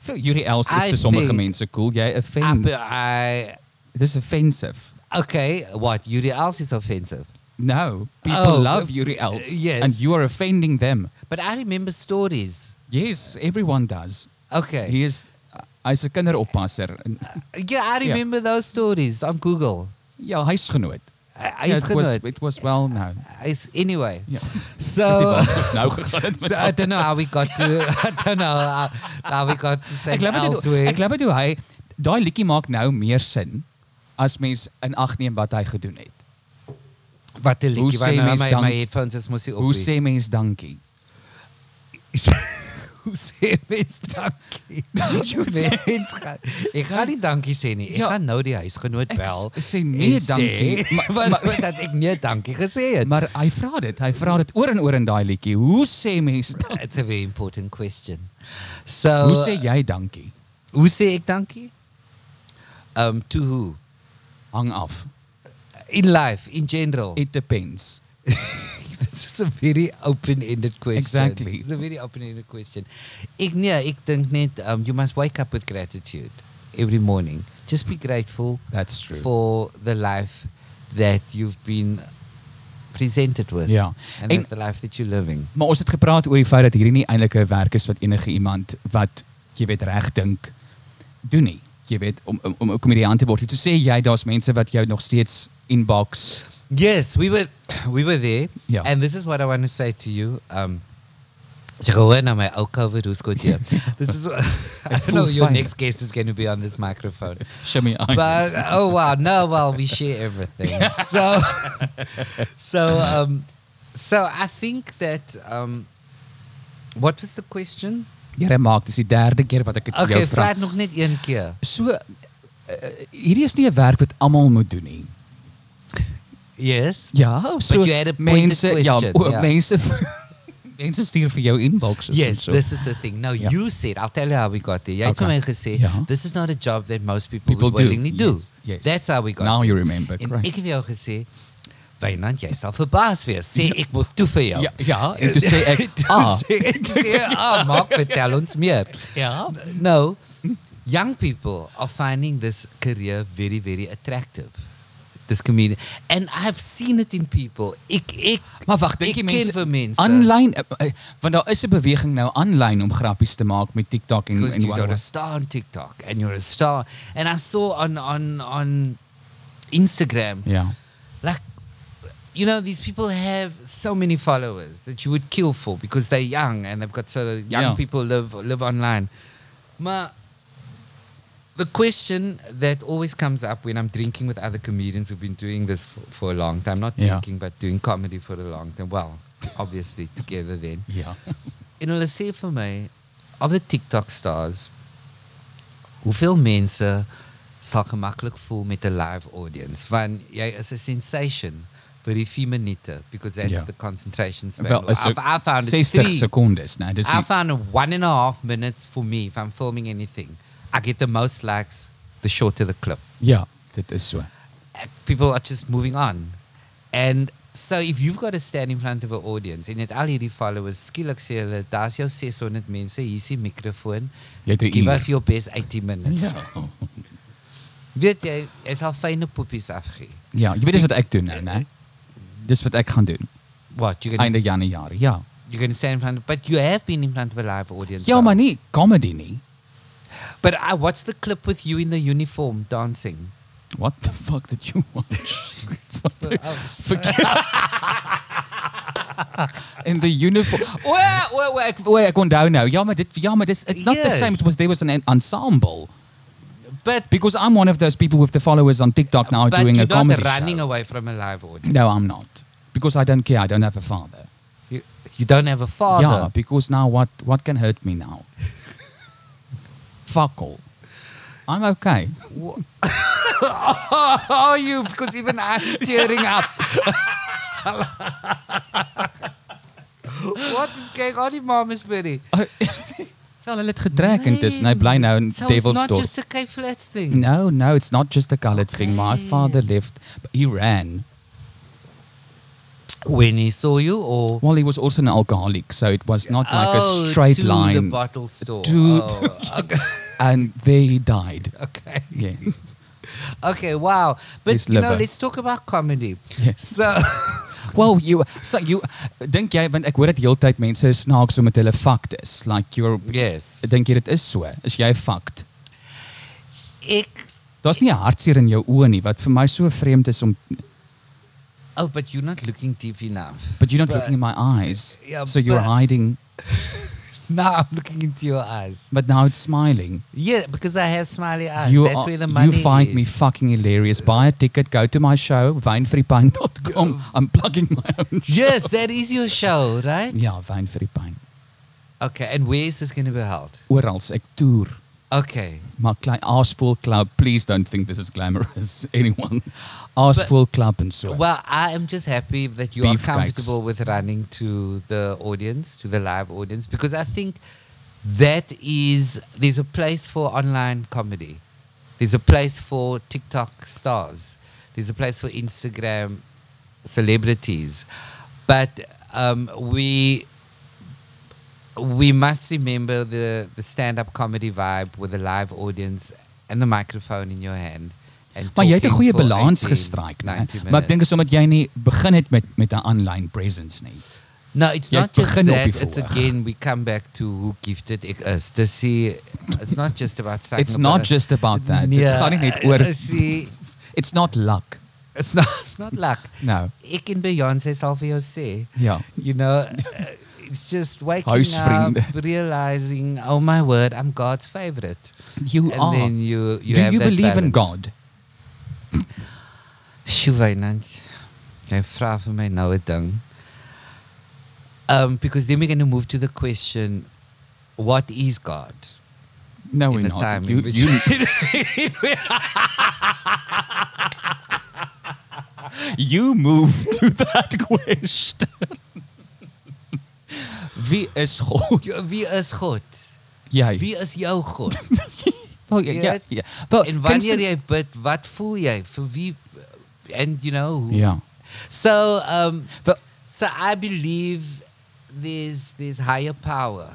Speaker 1: Vir Yuri Els is
Speaker 2: I
Speaker 1: vir sommige
Speaker 2: think-
Speaker 1: mense cool. Jy
Speaker 2: I,
Speaker 1: offend.
Speaker 2: I
Speaker 1: Dis offensive.
Speaker 2: okay, what? You else is offensive.
Speaker 1: No, people
Speaker 2: Oh,
Speaker 1: love
Speaker 2: uh,
Speaker 1: Yuri Els
Speaker 2: yes.
Speaker 1: and you are offending them.
Speaker 2: But I remember stories.
Speaker 1: Yes, everyone does.
Speaker 2: Okay.
Speaker 1: He is uh, hy's 'n kinderoppasser. En-
Speaker 2: Uh, Yeah, I
Speaker 1: Yeah.
Speaker 2: remember those stories on Google.
Speaker 1: Ja, huisgenoot.
Speaker 2: I, I
Speaker 1: Ja,
Speaker 2: used
Speaker 1: it
Speaker 2: to
Speaker 1: was
Speaker 2: know it.
Speaker 1: it was well known.
Speaker 2: I s- anyway.
Speaker 1: Ja. Dit
Speaker 2: So,
Speaker 1: was ons nou gegaan het.
Speaker 2: Oh. so I don't know how we got to I don't know how, how we got to say
Speaker 1: Ek glo dit hoe-
Speaker 2: elsewhere.
Speaker 1: ek glo dit hoe hy daai liedjie maak nou meer sin as mens in ag neem wat hy gedoen het.
Speaker 2: Wat 'n
Speaker 1: Hoe
Speaker 2: liedjie
Speaker 1: sê
Speaker 2: want nou
Speaker 1: mens
Speaker 2: my
Speaker 1: dank-
Speaker 2: my headphones is mos hier op.
Speaker 1: Hoe
Speaker 2: hier.
Speaker 1: sê mens dankie?
Speaker 2: hoe sê mens dankie? mens gaan ek gaan nie dankie sê nie. Ek
Speaker 1: Ja.
Speaker 2: gaan nou die huisgenoot
Speaker 1: Ek
Speaker 2: bel.
Speaker 1: s- sê nee
Speaker 2: en
Speaker 1: dankie,
Speaker 2: Sê,
Speaker 1: maar-
Speaker 2: maar,
Speaker 1: maar-
Speaker 2: maar dat ek nee dankie gesê het.
Speaker 1: Maar hy vra dit, hy vra dit oor en oor in daai liedjie. Hoe sê mense dan-
Speaker 2: It's a very important question. So
Speaker 1: Hoe sê jy dankie?
Speaker 2: hoe sê ek dankie? Um to who?
Speaker 1: Hang af.
Speaker 2: In life in general.
Speaker 1: It depends.
Speaker 2: This is a very open-ended question.
Speaker 1: Exactly.
Speaker 2: It's a very open-ended question. Ek nee, ek dink net um you must wake up with gratitude every morning. Just be grateful
Speaker 1: That's true.
Speaker 2: for the life that you've been presented with.
Speaker 1: Ja.
Speaker 2: And,
Speaker 1: En-
Speaker 2: that the life that you're living.
Speaker 1: Maar ons het gepraat oor die feit dat hierdie nie eintlik 'n werk is wat enige iemand wat jy weet reg dink doen nie. Jy weet om om, om 'n komediant te word. Jy toe sê jy daar's mense wat jou nog steeds inbox.
Speaker 2: Yes, we were we were there.
Speaker 1: Ja.
Speaker 2: And this is what I want to say to you. Um jy hoor na my ou COVID hoes goed hier. This is I don't know
Speaker 1: voel
Speaker 2: your
Speaker 1: fyn.
Speaker 2: next guest is going to be on this microphone.
Speaker 1: Shimmy
Speaker 2: But
Speaker 1: eyes.
Speaker 2: oh wow, no, well we share everything. so so um so I think that um what was the question?
Speaker 1: Jy maak dis die derde keer wat ek dit vir
Speaker 2: Okay,
Speaker 1: jou vra.
Speaker 2: vra dit nog net een keer.
Speaker 1: So uh,
Speaker 2: eh,
Speaker 1: hierdie is nie 'n werk wat almal moet doen nie.
Speaker 2: Yes.
Speaker 1: Ja, so
Speaker 2: you had a pointed
Speaker 1: mense ja,
Speaker 2: question,
Speaker 1: o,
Speaker 2: ja.
Speaker 1: mense mense stuur vir jou inboxes en
Speaker 2: Yes,
Speaker 1: so.
Speaker 2: this is the thing. Now
Speaker 1: Yeah.
Speaker 2: you said, I'll tell you how we got there. Jy het vir
Speaker 1: Okay.
Speaker 2: my gesê,
Speaker 1: Yeah.
Speaker 2: this is not a job that most people,
Speaker 1: people
Speaker 2: would
Speaker 1: do.
Speaker 2: willingly do.
Speaker 1: Yes, yes.
Speaker 2: That's how we got
Speaker 1: Now
Speaker 2: there.
Speaker 1: you remember,
Speaker 2: En
Speaker 1: right.
Speaker 2: ek het vir jou gesê, Wynand, jy sal verbaas wees. Sê ek mos toe vir jou.
Speaker 1: Ja, ja, en toe sê ek,
Speaker 2: Toe
Speaker 1: "Ah."
Speaker 2: sê ek sê, "Ah, maar vertel ons meer."
Speaker 1: Ja.
Speaker 2: No. Young people are finding this career very very attractive. This comedian and I've seen it in people. Ek ek
Speaker 1: Maar wag, dink jy
Speaker 2: Ek
Speaker 1: mense
Speaker 2: ken vir mense.
Speaker 1: aanlyn eh, eh, want daar is 'n beweging nou aanlyn om grappies te maak met TikTok en
Speaker 2: because
Speaker 1: en
Speaker 2: you got a
Speaker 1: wat.
Speaker 2: star on TikTok and you're a star. And I saw on on on Instagram,
Speaker 1: Ja.
Speaker 2: like you know, these people have so many followers that you would kill for because they're young and they've got so young
Speaker 1: Yeah.
Speaker 2: people live live online. Ma the question that always comes up when I'm drinking with other comedians who've been doing this for, for a long time, not
Speaker 1: Yeah.
Speaker 2: drinking but doing comedy for a long time. Well, obviously together then.
Speaker 1: Ja.
Speaker 2: En hulle sê vir my of die TikTok stars hoeveel mense sal gemaklik voel met 'n live audience want jy is 'n sensation vir die 4 minute because that's
Speaker 1: Ja.
Speaker 2: the concentration span.
Speaker 1: Wel, is
Speaker 2: I've- I found it's
Speaker 1: 60
Speaker 2: three.
Speaker 1: sekondes, né? Dis
Speaker 2: I
Speaker 1: nie-
Speaker 2: found one and a half minutes for me if I'm filming anything. I get the most likes the shorter the clip
Speaker 1: ja, dit is so.
Speaker 2: people are just moving on. And so if you've got to stand in front of an audience en het al hierdie followers skielik sê hulle daar's jou 600 mense hier is die mikrofoon.
Speaker 1: Jy het 'n
Speaker 2: Give
Speaker 1: uur."
Speaker 2: us your best 80 minutes.
Speaker 1: Ja.
Speaker 2: Weet jy, is al fynne poppies afgee.
Speaker 1: Ja, jy weet dis wat ek doen nou, né? Dis wat ek gaan doen
Speaker 2: What you going
Speaker 1: einde Januarie. Ja.
Speaker 2: you going to stand in front of, but you have been in front of a live audience.
Speaker 1: Ja,
Speaker 2: now.
Speaker 1: maar nie comedy nie.
Speaker 2: But I watched the clip with you in the uniform dancing.
Speaker 1: What the fuck did you watch? Wat-
Speaker 2: Oh,
Speaker 1: Verkeer. in the uniform. Oh, O, o, o, ek o, ek onthou nou. oh, Ja, maar dit ja, maar dis it's not the
Speaker 2: Yes.
Speaker 1: same it was there was an en- ensemble
Speaker 2: But,
Speaker 1: because I'm one of those people with the followers on TikTok now
Speaker 2: but
Speaker 1: doing
Speaker 2: you're
Speaker 1: a
Speaker 2: not
Speaker 1: comedy
Speaker 2: running
Speaker 1: show.
Speaker 2: away from a live audience.
Speaker 1: No, I'm not. Because I don't care. I don't have a father.
Speaker 2: You, you don't have a father.
Speaker 1: Yeah, because now what what can hurt me now? Fuck all. I'm okay.
Speaker 2: How are Oh, you? Because even I'm tearing up. what is going on in Mama's Berry?
Speaker 1: Wel, hulle het getrek en dis nou bly nou in
Speaker 2: so
Speaker 1: Devil's
Speaker 2: it's not
Speaker 1: Dorp.
Speaker 2: just a Cape Flats thing.
Speaker 1: No, no, it's not just a colored thing. My
Speaker 2: Okay.
Speaker 1: father left, but he ran.
Speaker 2: When he saw you or
Speaker 1: Well, he was also an alcoholic, so it was not like
Speaker 2: Oh,
Speaker 1: a straight
Speaker 2: to the
Speaker 1: line.
Speaker 2: bottle store.
Speaker 1: To-
Speaker 2: Oh, okay.
Speaker 1: And there he died.
Speaker 2: okay.
Speaker 1: Yes.
Speaker 2: Okay, wow. But
Speaker 1: His
Speaker 2: you know,
Speaker 1: liver.
Speaker 2: let's talk about comedy.
Speaker 1: Yes.
Speaker 2: So
Speaker 1: Well, you so you dink jy want ek hoor dit heeltyd mense is snaaks om met hulle fact is. Like you're
Speaker 2: yes.
Speaker 1: dink jy dit is so? Is jy fact?
Speaker 2: Ek,
Speaker 1: Daar's nie 'n hartseer in jou oë nie wat vir my so vreemd is om
Speaker 2: oh, but you're not looking deep enough.
Speaker 1: but you're not
Speaker 2: But-
Speaker 1: looking in my eyes.
Speaker 2: Yeah,
Speaker 1: so you're
Speaker 2: but-
Speaker 1: hiding
Speaker 2: Now I'm looking into your eyes.
Speaker 1: but now it's smiling.
Speaker 2: Yeah, because I have smiley eyes.
Speaker 1: You
Speaker 2: That's
Speaker 1: are-
Speaker 2: where the
Speaker 1: you
Speaker 2: money
Speaker 1: find
Speaker 2: is.
Speaker 1: me fucking hilarious. Buy a ticket, go to my show wynfreepyn.com. I'm plugging my own. Show.
Speaker 2: yes, that is your show, right?
Speaker 1: Ja, wynfreepyn.
Speaker 2: Okay, and where is this going to be held?
Speaker 1: Oral ek toer.
Speaker 2: Okay.
Speaker 1: Maar klein Aasvoel Club, please don't think this is glamorous anyone. Aasvool Club and so.
Speaker 2: Well, I am just happy that you
Speaker 1: Beefcakes.
Speaker 2: are comfortable with running to the audience, to the live audience, because I think that is there's a place for online comedy. There's a place for TikTok stars. There's a place for Instagram celebrities. But um, we we must remember the, the stand up comedy vibe with a live audience and the microphone in your hand. And
Speaker 1: Maar jy het 'n
Speaker 2: talking
Speaker 1: goeie
Speaker 2: for
Speaker 1: balans
Speaker 2: 18,
Speaker 1: gestryk, né?
Speaker 2: 90
Speaker 1: Maar ek dink
Speaker 2: minutes.
Speaker 1: is omdat jy nie begin het met met 'n online presence nie.
Speaker 2: No, Nou, it's
Speaker 1: Jy
Speaker 2: not just
Speaker 1: begin op
Speaker 2: that.
Speaker 1: die
Speaker 2: It's
Speaker 1: verhoog.
Speaker 2: again we come back to who gifted ek is. Dis see it's not just about Nee, sucking
Speaker 1: It's
Speaker 2: up
Speaker 1: not
Speaker 2: on it.
Speaker 1: just about that. Dit gaan nie net oor
Speaker 2: eh, see
Speaker 1: It's not luck.
Speaker 2: it's not it's not luck.
Speaker 1: No.
Speaker 2: Ek en Beyoncé sal vir jou sê.
Speaker 1: Ja.
Speaker 2: You know, eh, it's just waking up,
Speaker 1: Huisvriende.
Speaker 2: realizing, oh my word, I'm God's favorite.
Speaker 1: You
Speaker 2: and
Speaker 1: are.
Speaker 2: then you you
Speaker 1: Do
Speaker 2: have
Speaker 1: you
Speaker 2: that
Speaker 1: believe in God?
Speaker 2: balance. Sjoeynant. Jy vra vir my nou 'n ding. Um because then we're going to move to the question what is God?
Speaker 1: No,
Speaker 2: In
Speaker 1: we're
Speaker 2: the
Speaker 1: not.
Speaker 2: time
Speaker 1: You,
Speaker 2: in which-
Speaker 1: you, you move to that question. Wie is God?
Speaker 2: Ja, Wie is God?
Speaker 1: Jy.
Speaker 2: Wie is jou God?
Speaker 1: Wel ja, ja,
Speaker 2: weet-
Speaker 1: ja. Wel
Speaker 2: en
Speaker 1: kunst-
Speaker 2: wanneer jy bid, wat voel jy? Vir wie and you know? who-
Speaker 1: Ja.
Speaker 2: So um
Speaker 1: Wel
Speaker 2: so I believe there's there's higher power.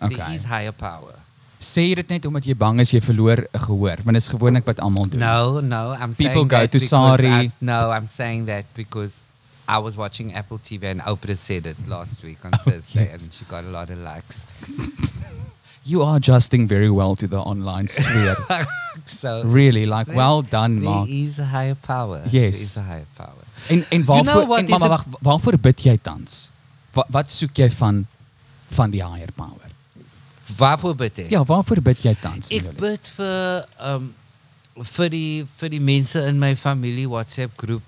Speaker 2: There
Speaker 1: Okay.
Speaker 2: is higher power.
Speaker 1: sê jy dit net omdat jy bang is jy verloor 'n gehoor, want dit is gewoonlik wat almal doen.
Speaker 2: No, no, I'm saying
Speaker 1: People go
Speaker 2: that
Speaker 1: to
Speaker 2: because
Speaker 1: Sari.
Speaker 2: I- No, I'm saying that because I was watching Apple TV and Oprah said it last week on Thursday and she got a lot of likes.
Speaker 1: You are adjusting very well to the online sphere.
Speaker 2: so
Speaker 1: really like
Speaker 2: There-
Speaker 1: well done,
Speaker 2: there
Speaker 1: Mark.
Speaker 2: is a higher power. There
Speaker 1: Yes.
Speaker 2: is a higher power.
Speaker 1: En en
Speaker 2: know
Speaker 1: waarvoor
Speaker 2: what
Speaker 1: en
Speaker 2: is
Speaker 1: mama
Speaker 2: the-
Speaker 1: wag, waarvoor bid jy tans? Wat wat soek jy van van die higher power?
Speaker 2: Waarvoor bid ek?
Speaker 1: Ja, waarvoor bid jy tans?
Speaker 2: Ek
Speaker 1: Nolly?
Speaker 2: bid vir um vir die vir die mense in my familie WhatsApp groep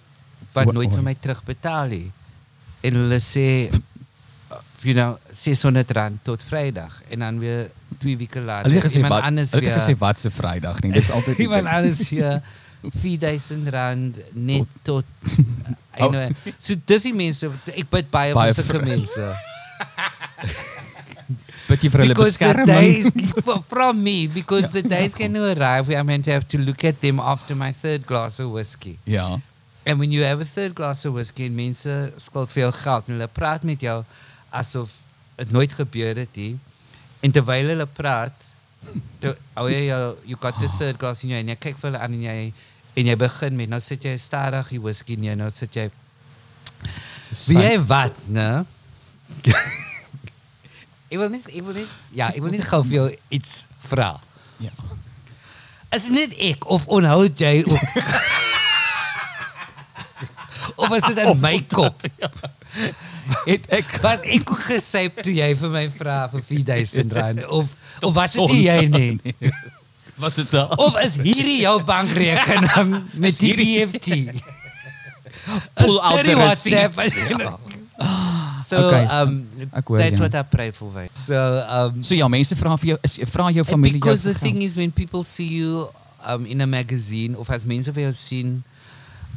Speaker 2: wat
Speaker 1: Wa- oh.
Speaker 2: nooit vir
Speaker 1: oei.
Speaker 2: my terugbetaal nie. En hulle sê uh, you know 600 rand tot Vrydag en dan weer 2 weke later
Speaker 1: Hulle het gesê
Speaker 2: iemand
Speaker 1: wat
Speaker 2: anders
Speaker 1: hulle het gesê
Speaker 2: weer
Speaker 1: wat se Vrydag nie. Dis altyd die
Speaker 2: iemand
Speaker 1: ding.
Speaker 2: anders weer 4000 rand net tot
Speaker 1: Oh.
Speaker 2: anyway. So dis die mense ek bid baie
Speaker 1: Baie
Speaker 2: vir sulke
Speaker 1: vir-
Speaker 2: mense.
Speaker 1: bid jy vir hulle
Speaker 2: because the
Speaker 1: beskerming.
Speaker 2: days f- from me because the days going to arrive where I'm going to have to look at them after my third glass of whiskey.
Speaker 1: Ja.
Speaker 2: And when you have a third glass of whiskey en mense skuld vir jou geld en hulle praat met jou asof dit nooit gebeur het nie. En terwyl hulle praat, te, oh jy jou- you got the third glass in jou en jy kyk vir hulle aan en jy en jy begin met nou sit jy stadig die whiskey neer, nou sit jy Wie jy wat, né? ek wil net ek wil net ja, ek wil net gou vir jou iets vra.
Speaker 1: Ja.
Speaker 2: Is dit net ek of onthou jy ook Of is dit in my kop?
Speaker 1: het ek
Speaker 2: Was ek ook gesyp toe jy vir my vra vir 4000 rand of of was dit
Speaker 1: son.
Speaker 2: nie jy nie?
Speaker 1: was dit daar.
Speaker 2: Of is hierdie jou bankrekening met die E EFT?
Speaker 1: Pull out the
Speaker 2: Study WhatsApp.
Speaker 1: receipts.
Speaker 2: So
Speaker 1: Okay, so
Speaker 2: um
Speaker 1: ek hoor
Speaker 2: that's
Speaker 1: jou.
Speaker 2: what I pray for. Wait. So um
Speaker 1: So ja, mense vra vir jou is vra jou
Speaker 2: And
Speaker 1: familie
Speaker 2: because
Speaker 1: jou
Speaker 2: the
Speaker 1: vir
Speaker 2: thing is, when people see you um, in a magazine, of as mense vir jou sien,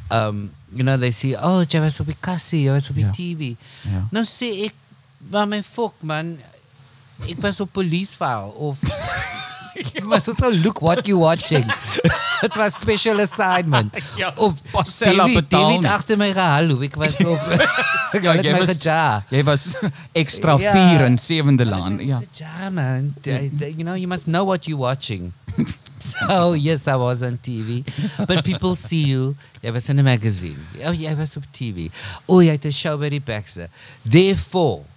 Speaker 2: um, you know, they see, oh, jy was op die kassie, jy was op die
Speaker 1: Ja.
Speaker 2: TV.
Speaker 1: Ja.
Speaker 2: Nou sê ek, maar my fok man, ek was op policevel of Maar so so look what you watching. Dit was special assignment.
Speaker 1: Ja,
Speaker 2: of
Speaker 1: Marcella
Speaker 2: David,
Speaker 1: betaal
Speaker 2: David
Speaker 1: nie.
Speaker 2: agter my gehallo. Ek was op
Speaker 1: geld.
Speaker 2: Ja, jy was ja.
Speaker 1: jy was ekstra
Speaker 2: Ja.
Speaker 1: 4 in sewende laan. Ja.
Speaker 2: Ja, man. Th- th- You know, you must know what you're watching. So, yes, I was on TV. But people see you. Jy was in 'n magazine. Oh, jy was op TV. O, jy het 'n show by die Baxter. Therefore,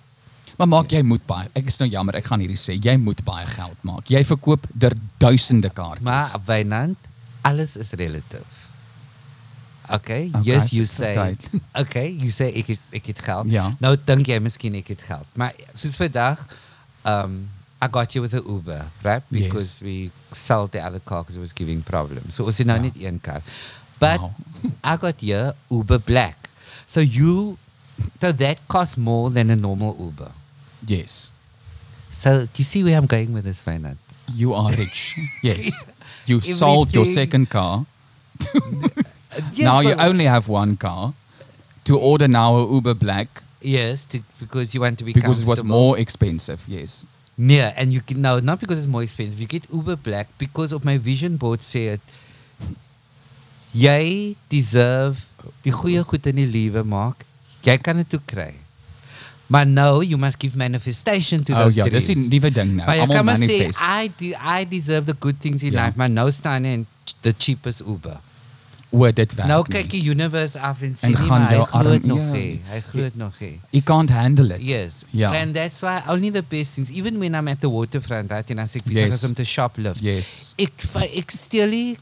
Speaker 1: Maar maak jy moet baie. Ek is nou jammer, ek gaan hierdie sê. Jy moet baie geld maak. Jy verkoop der duisende
Speaker 2: maar
Speaker 1: kaartjies.
Speaker 2: Wynand, alles is relatief. Okay,
Speaker 1: Okay,
Speaker 2: yes you say.
Speaker 1: verduid-
Speaker 2: Okay, you say ek het, ek het geld.
Speaker 1: Ja.
Speaker 2: Nou dink jy miskien ek het geld. Maar soos vandag, um I got you with an Uber, right?
Speaker 1: Yes.
Speaker 2: Because we sold the other car because it was giving problems. So ons het nou
Speaker 1: Ja.
Speaker 2: net een kar. But
Speaker 1: Wow.
Speaker 2: I got you Uber Black. So you so that costs more than a normal Uber.
Speaker 1: yes.
Speaker 2: So do you see where I'm going with this, Wynand?
Speaker 1: You are rich. Yes. You sold your
Speaker 2: Everything.
Speaker 1: second car.
Speaker 2: Yes,
Speaker 1: now you
Speaker 2: but-
Speaker 1: only have one car. To order now a Uber Black
Speaker 2: Yes, to, because you want to be
Speaker 1: because it was
Speaker 2: comfortable.
Speaker 1: more expensive. Yes.
Speaker 2: Yeah, and Nee, you can no, not because it's more expensive. You get Uber Black because of my vision board sê dit jy deserve die goeie goed in die lewe maak. Jy kan dit toe kry. Maar nou you must give manifestation to
Speaker 1: Oh
Speaker 2: those
Speaker 1: ja, dis
Speaker 2: dreams.
Speaker 1: die nuwe ding nou.
Speaker 2: Maar jy
Speaker 1: Almal
Speaker 2: kan maar sê
Speaker 1: manifest.
Speaker 2: I de I deserve the good things in
Speaker 1: Ja.
Speaker 2: life, maar nou staan jy in ch- the cheapest Uber.
Speaker 1: Oor dit werk.
Speaker 2: nou
Speaker 1: nie.
Speaker 2: kyk die universe af en sê
Speaker 1: En
Speaker 2: nie,
Speaker 1: gaan
Speaker 2: maar hy
Speaker 1: jou
Speaker 2: glo dit
Speaker 1: arm-
Speaker 2: nog
Speaker 1: Ja.
Speaker 2: hê. Hy glo dit nog hê.
Speaker 1: You can't handle it.
Speaker 2: Yes.
Speaker 1: Yeah.
Speaker 2: And that's why only the best things, even when I'm at the waterfront, right, and I say,
Speaker 1: Yes.
Speaker 2: yes. I'm to shoplift.
Speaker 1: Yes.
Speaker 2: Ek, v- ek steal nie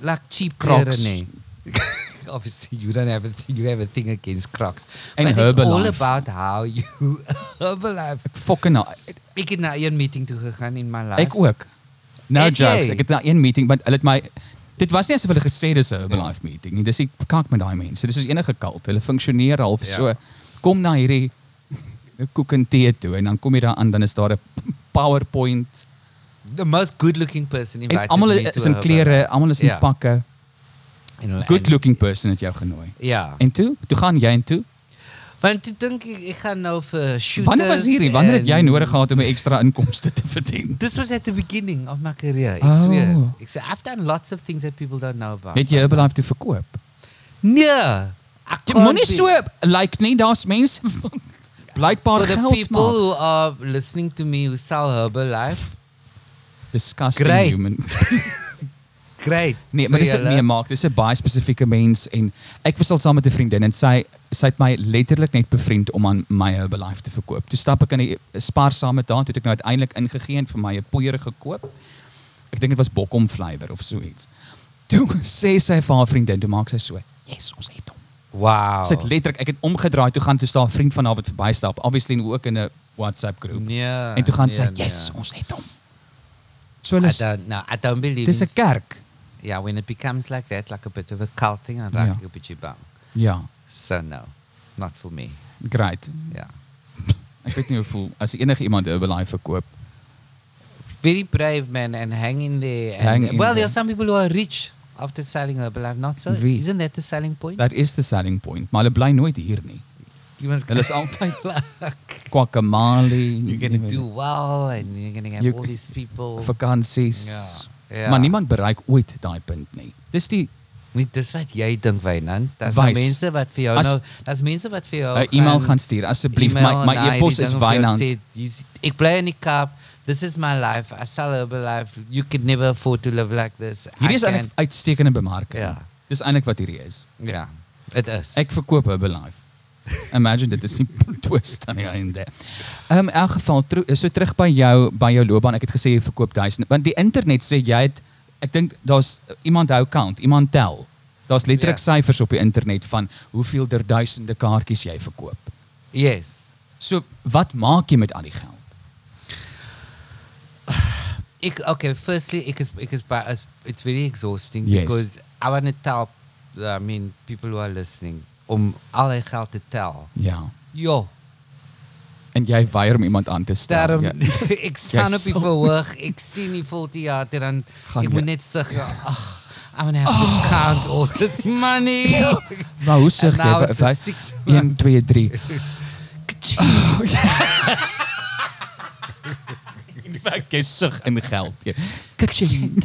Speaker 2: like cheap
Speaker 1: Crocs.
Speaker 2: klere nie. Obviously, you don't have a thing, you have a thing against Crocs.
Speaker 1: And
Speaker 2: but it's all
Speaker 1: Herbalife.
Speaker 2: about how you Herbalife.
Speaker 1: Fucking hell.
Speaker 2: Ek het na een meeting toe gegaan in my life.
Speaker 1: ek ook. No
Speaker 2: Het jy?
Speaker 1: jokes. Ek het na een meeting want hulle het my dit was nie asof hulle gesê dis 'n
Speaker 2: Ja.
Speaker 1: Herbalife meeting nie. Dis die kak met daai mense. Dis soos enige kult. Hulle funksioneer half
Speaker 2: Ja.
Speaker 1: so. Kom na hierdie koek en tee toe en dan kom jy daar aan dan is daar 'n PowerPoint
Speaker 2: the most good-looking person
Speaker 1: en
Speaker 2: invited
Speaker 1: almal
Speaker 2: me
Speaker 1: is
Speaker 2: to
Speaker 1: in
Speaker 2: Herbalife.
Speaker 1: klere, almal is in
Speaker 2: Ja.
Speaker 1: pakke.
Speaker 2: En-
Speaker 1: Good looking person het jou genooi.
Speaker 2: en- Ja.
Speaker 1: En toe, toe gaan jy en toe.
Speaker 2: Want ek dink ek, ek gaan nou vir shooters.
Speaker 1: Wanneer was hierdie? Wanneer het jy
Speaker 2: en-
Speaker 1: nodig gehad om 'n ekstra inkomste te verdien?
Speaker 2: This was at the beginning of my career. Ek
Speaker 1: Oh.
Speaker 2: sweer. Ek sê I've done lots of things that people don't know about.
Speaker 1: Het jy Herbalife toe verkoop?
Speaker 2: Nee. Ek
Speaker 1: Jy
Speaker 2: can't
Speaker 1: moenie
Speaker 2: be-
Speaker 1: so lyk nie, daar's mense van- blykbaar
Speaker 2: for the
Speaker 1: geld
Speaker 2: people
Speaker 1: maak.
Speaker 2: who are listening to me who sell Herbalife.
Speaker 1: Disgusting
Speaker 2: Great.
Speaker 1: human.
Speaker 2: Great.
Speaker 1: Nee, maar
Speaker 2: vir
Speaker 1: dis dit
Speaker 2: julle.
Speaker 1: nee, maak, dis 'n baie spesifieke mens en ek was al saam met 'n vriendin en sy sy het my letterlik net bevriend om aan my Herbalife te verkoop. Toe stap ek in 'n spaar saam met haar, toe het ek nou uiteindelik ingegee en vir my 'n poeier gekoop. Ek dink dit was bokkom flavour of so iets. Toe sê sy vir haar vriendin, toe maak sy so, "Yes, ons het hom."
Speaker 2: Wow.
Speaker 1: Sy het letterlik, ek het omgedraai toe gaan toe staan 'n vriend van haar wat verbystap, obviously en ook in 'n WhatsApp groep.
Speaker 2: Nee.
Speaker 1: En toe gaan
Speaker 2: nee,
Speaker 1: sy,
Speaker 2: nee. Ah,
Speaker 1: "Yes, ons het hom." So hulle
Speaker 2: I
Speaker 1: is-
Speaker 2: don't no, I don't believe.
Speaker 1: dis
Speaker 2: in-
Speaker 1: 'n kerk.
Speaker 2: yeah, when it becomes like that, like a bit of a cult thing, I'm like
Speaker 1: Ja.
Speaker 2: a bit bang.
Speaker 1: Ja,
Speaker 2: So no, not for me.
Speaker 1: great.
Speaker 2: Yeah.
Speaker 1: Ek weet nie hoe voel as enige iemand Herbalife verkoop.
Speaker 2: Very brave man and hang in there. And
Speaker 1: Hang in
Speaker 2: well, there
Speaker 1: there.
Speaker 2: are some people who are rich after selling Herbalife. Not so.
Speaker 1: Wie?
Speaker 2: Isn't that the selling point?
Speaker 1: That is the selling point, maar hulle bly nooit hier nie.
Speaker 2: you must
Speaker 1: Hulle is altyd
Speaker 2: luck.
Speaker 1: guacamole.
Speaker 2: You're gonna do well, and you're gonna have
Speaker 1: You-
Speaker 2: all these people.
Speaker 1: vakansies.
Speaker 2: Ja, ja.
Speaker 1: Maar niemand bereik ooit daai punt nie. Dis die
Speaker 2: Niet dis wat jy dink, Wynand. Daar's nou
Speaker 1: Wys.
Speaker 2: mense wat vir jou
Speaker 1: As-
Speaker 2: nou, daar's mense wat vir jou
Speaker 1: 'n eh, e-mail gaan stuur asseblief. My my e-pos is Wynand.
Speaker 2: Ek bly in die Kaap. This is my life. I sell Herbalife. You could never afford to live like this. I
Speaker 1: Hierdie is
Speaker 2: can-
Speaker 1: eintlik uitstekende bemarking.
Speaker 2: Ja.
Speaker 1: Dis eintlik wat hierdie is.
Speaker 2: Ja. Dit is.
Speaker 1: Ek verkoop Herbalife. Imagine dit is nie twist aan die einde. Um, in elk geval tro- so terug by jou by jou loopbaan. Ek het gesê jy verkoop duisende want die internet sê jy het ek dink daar's eh, iemand hou count, iemand tel. Daar's letterlik
Speaker 2: Ja.
Speaker 1: syfers op die internet van hoeveel der duisende kaartjies jy verkoop.
Speaker 2: Yes.
Speaker 1: So wat maak jy met al die geld?
Speaker 2: Ek okay, firstly, ek is ek is ba- is- it's very exhausting
Speaker 1: Yes.
Speaker 2: because I want to tell I mean people who are listening om al hy geld te tel.
Speaker 1: Ja.
Speaker 2: Jo,
Speaker 1: En jy weier om iemand aan te stel.
Speaker 2: daarom
Speaker 1: Ja.
Speaker 2: ek staan op die
Speaker 1: sal-
Speaker 2: verhoog, ek sien die vol teater en
Speaker 1: Gaan
Speaker 2: ek
Speaker 1: jy-
Speaker 2: moet
Speaker 1: Oh.
Speaker 2: net sug, ag, I'm going to have to count all this money.
Speaker 1: Maar hoe sug
Speaker 2: And now
Speaker 1: jy?
Speaker 2: it's a
Speaker 1: Wy-
Speaker 2: six-
Speaker 1: 1 2 3. Ek jy sug in geld. Ja. Kitchen.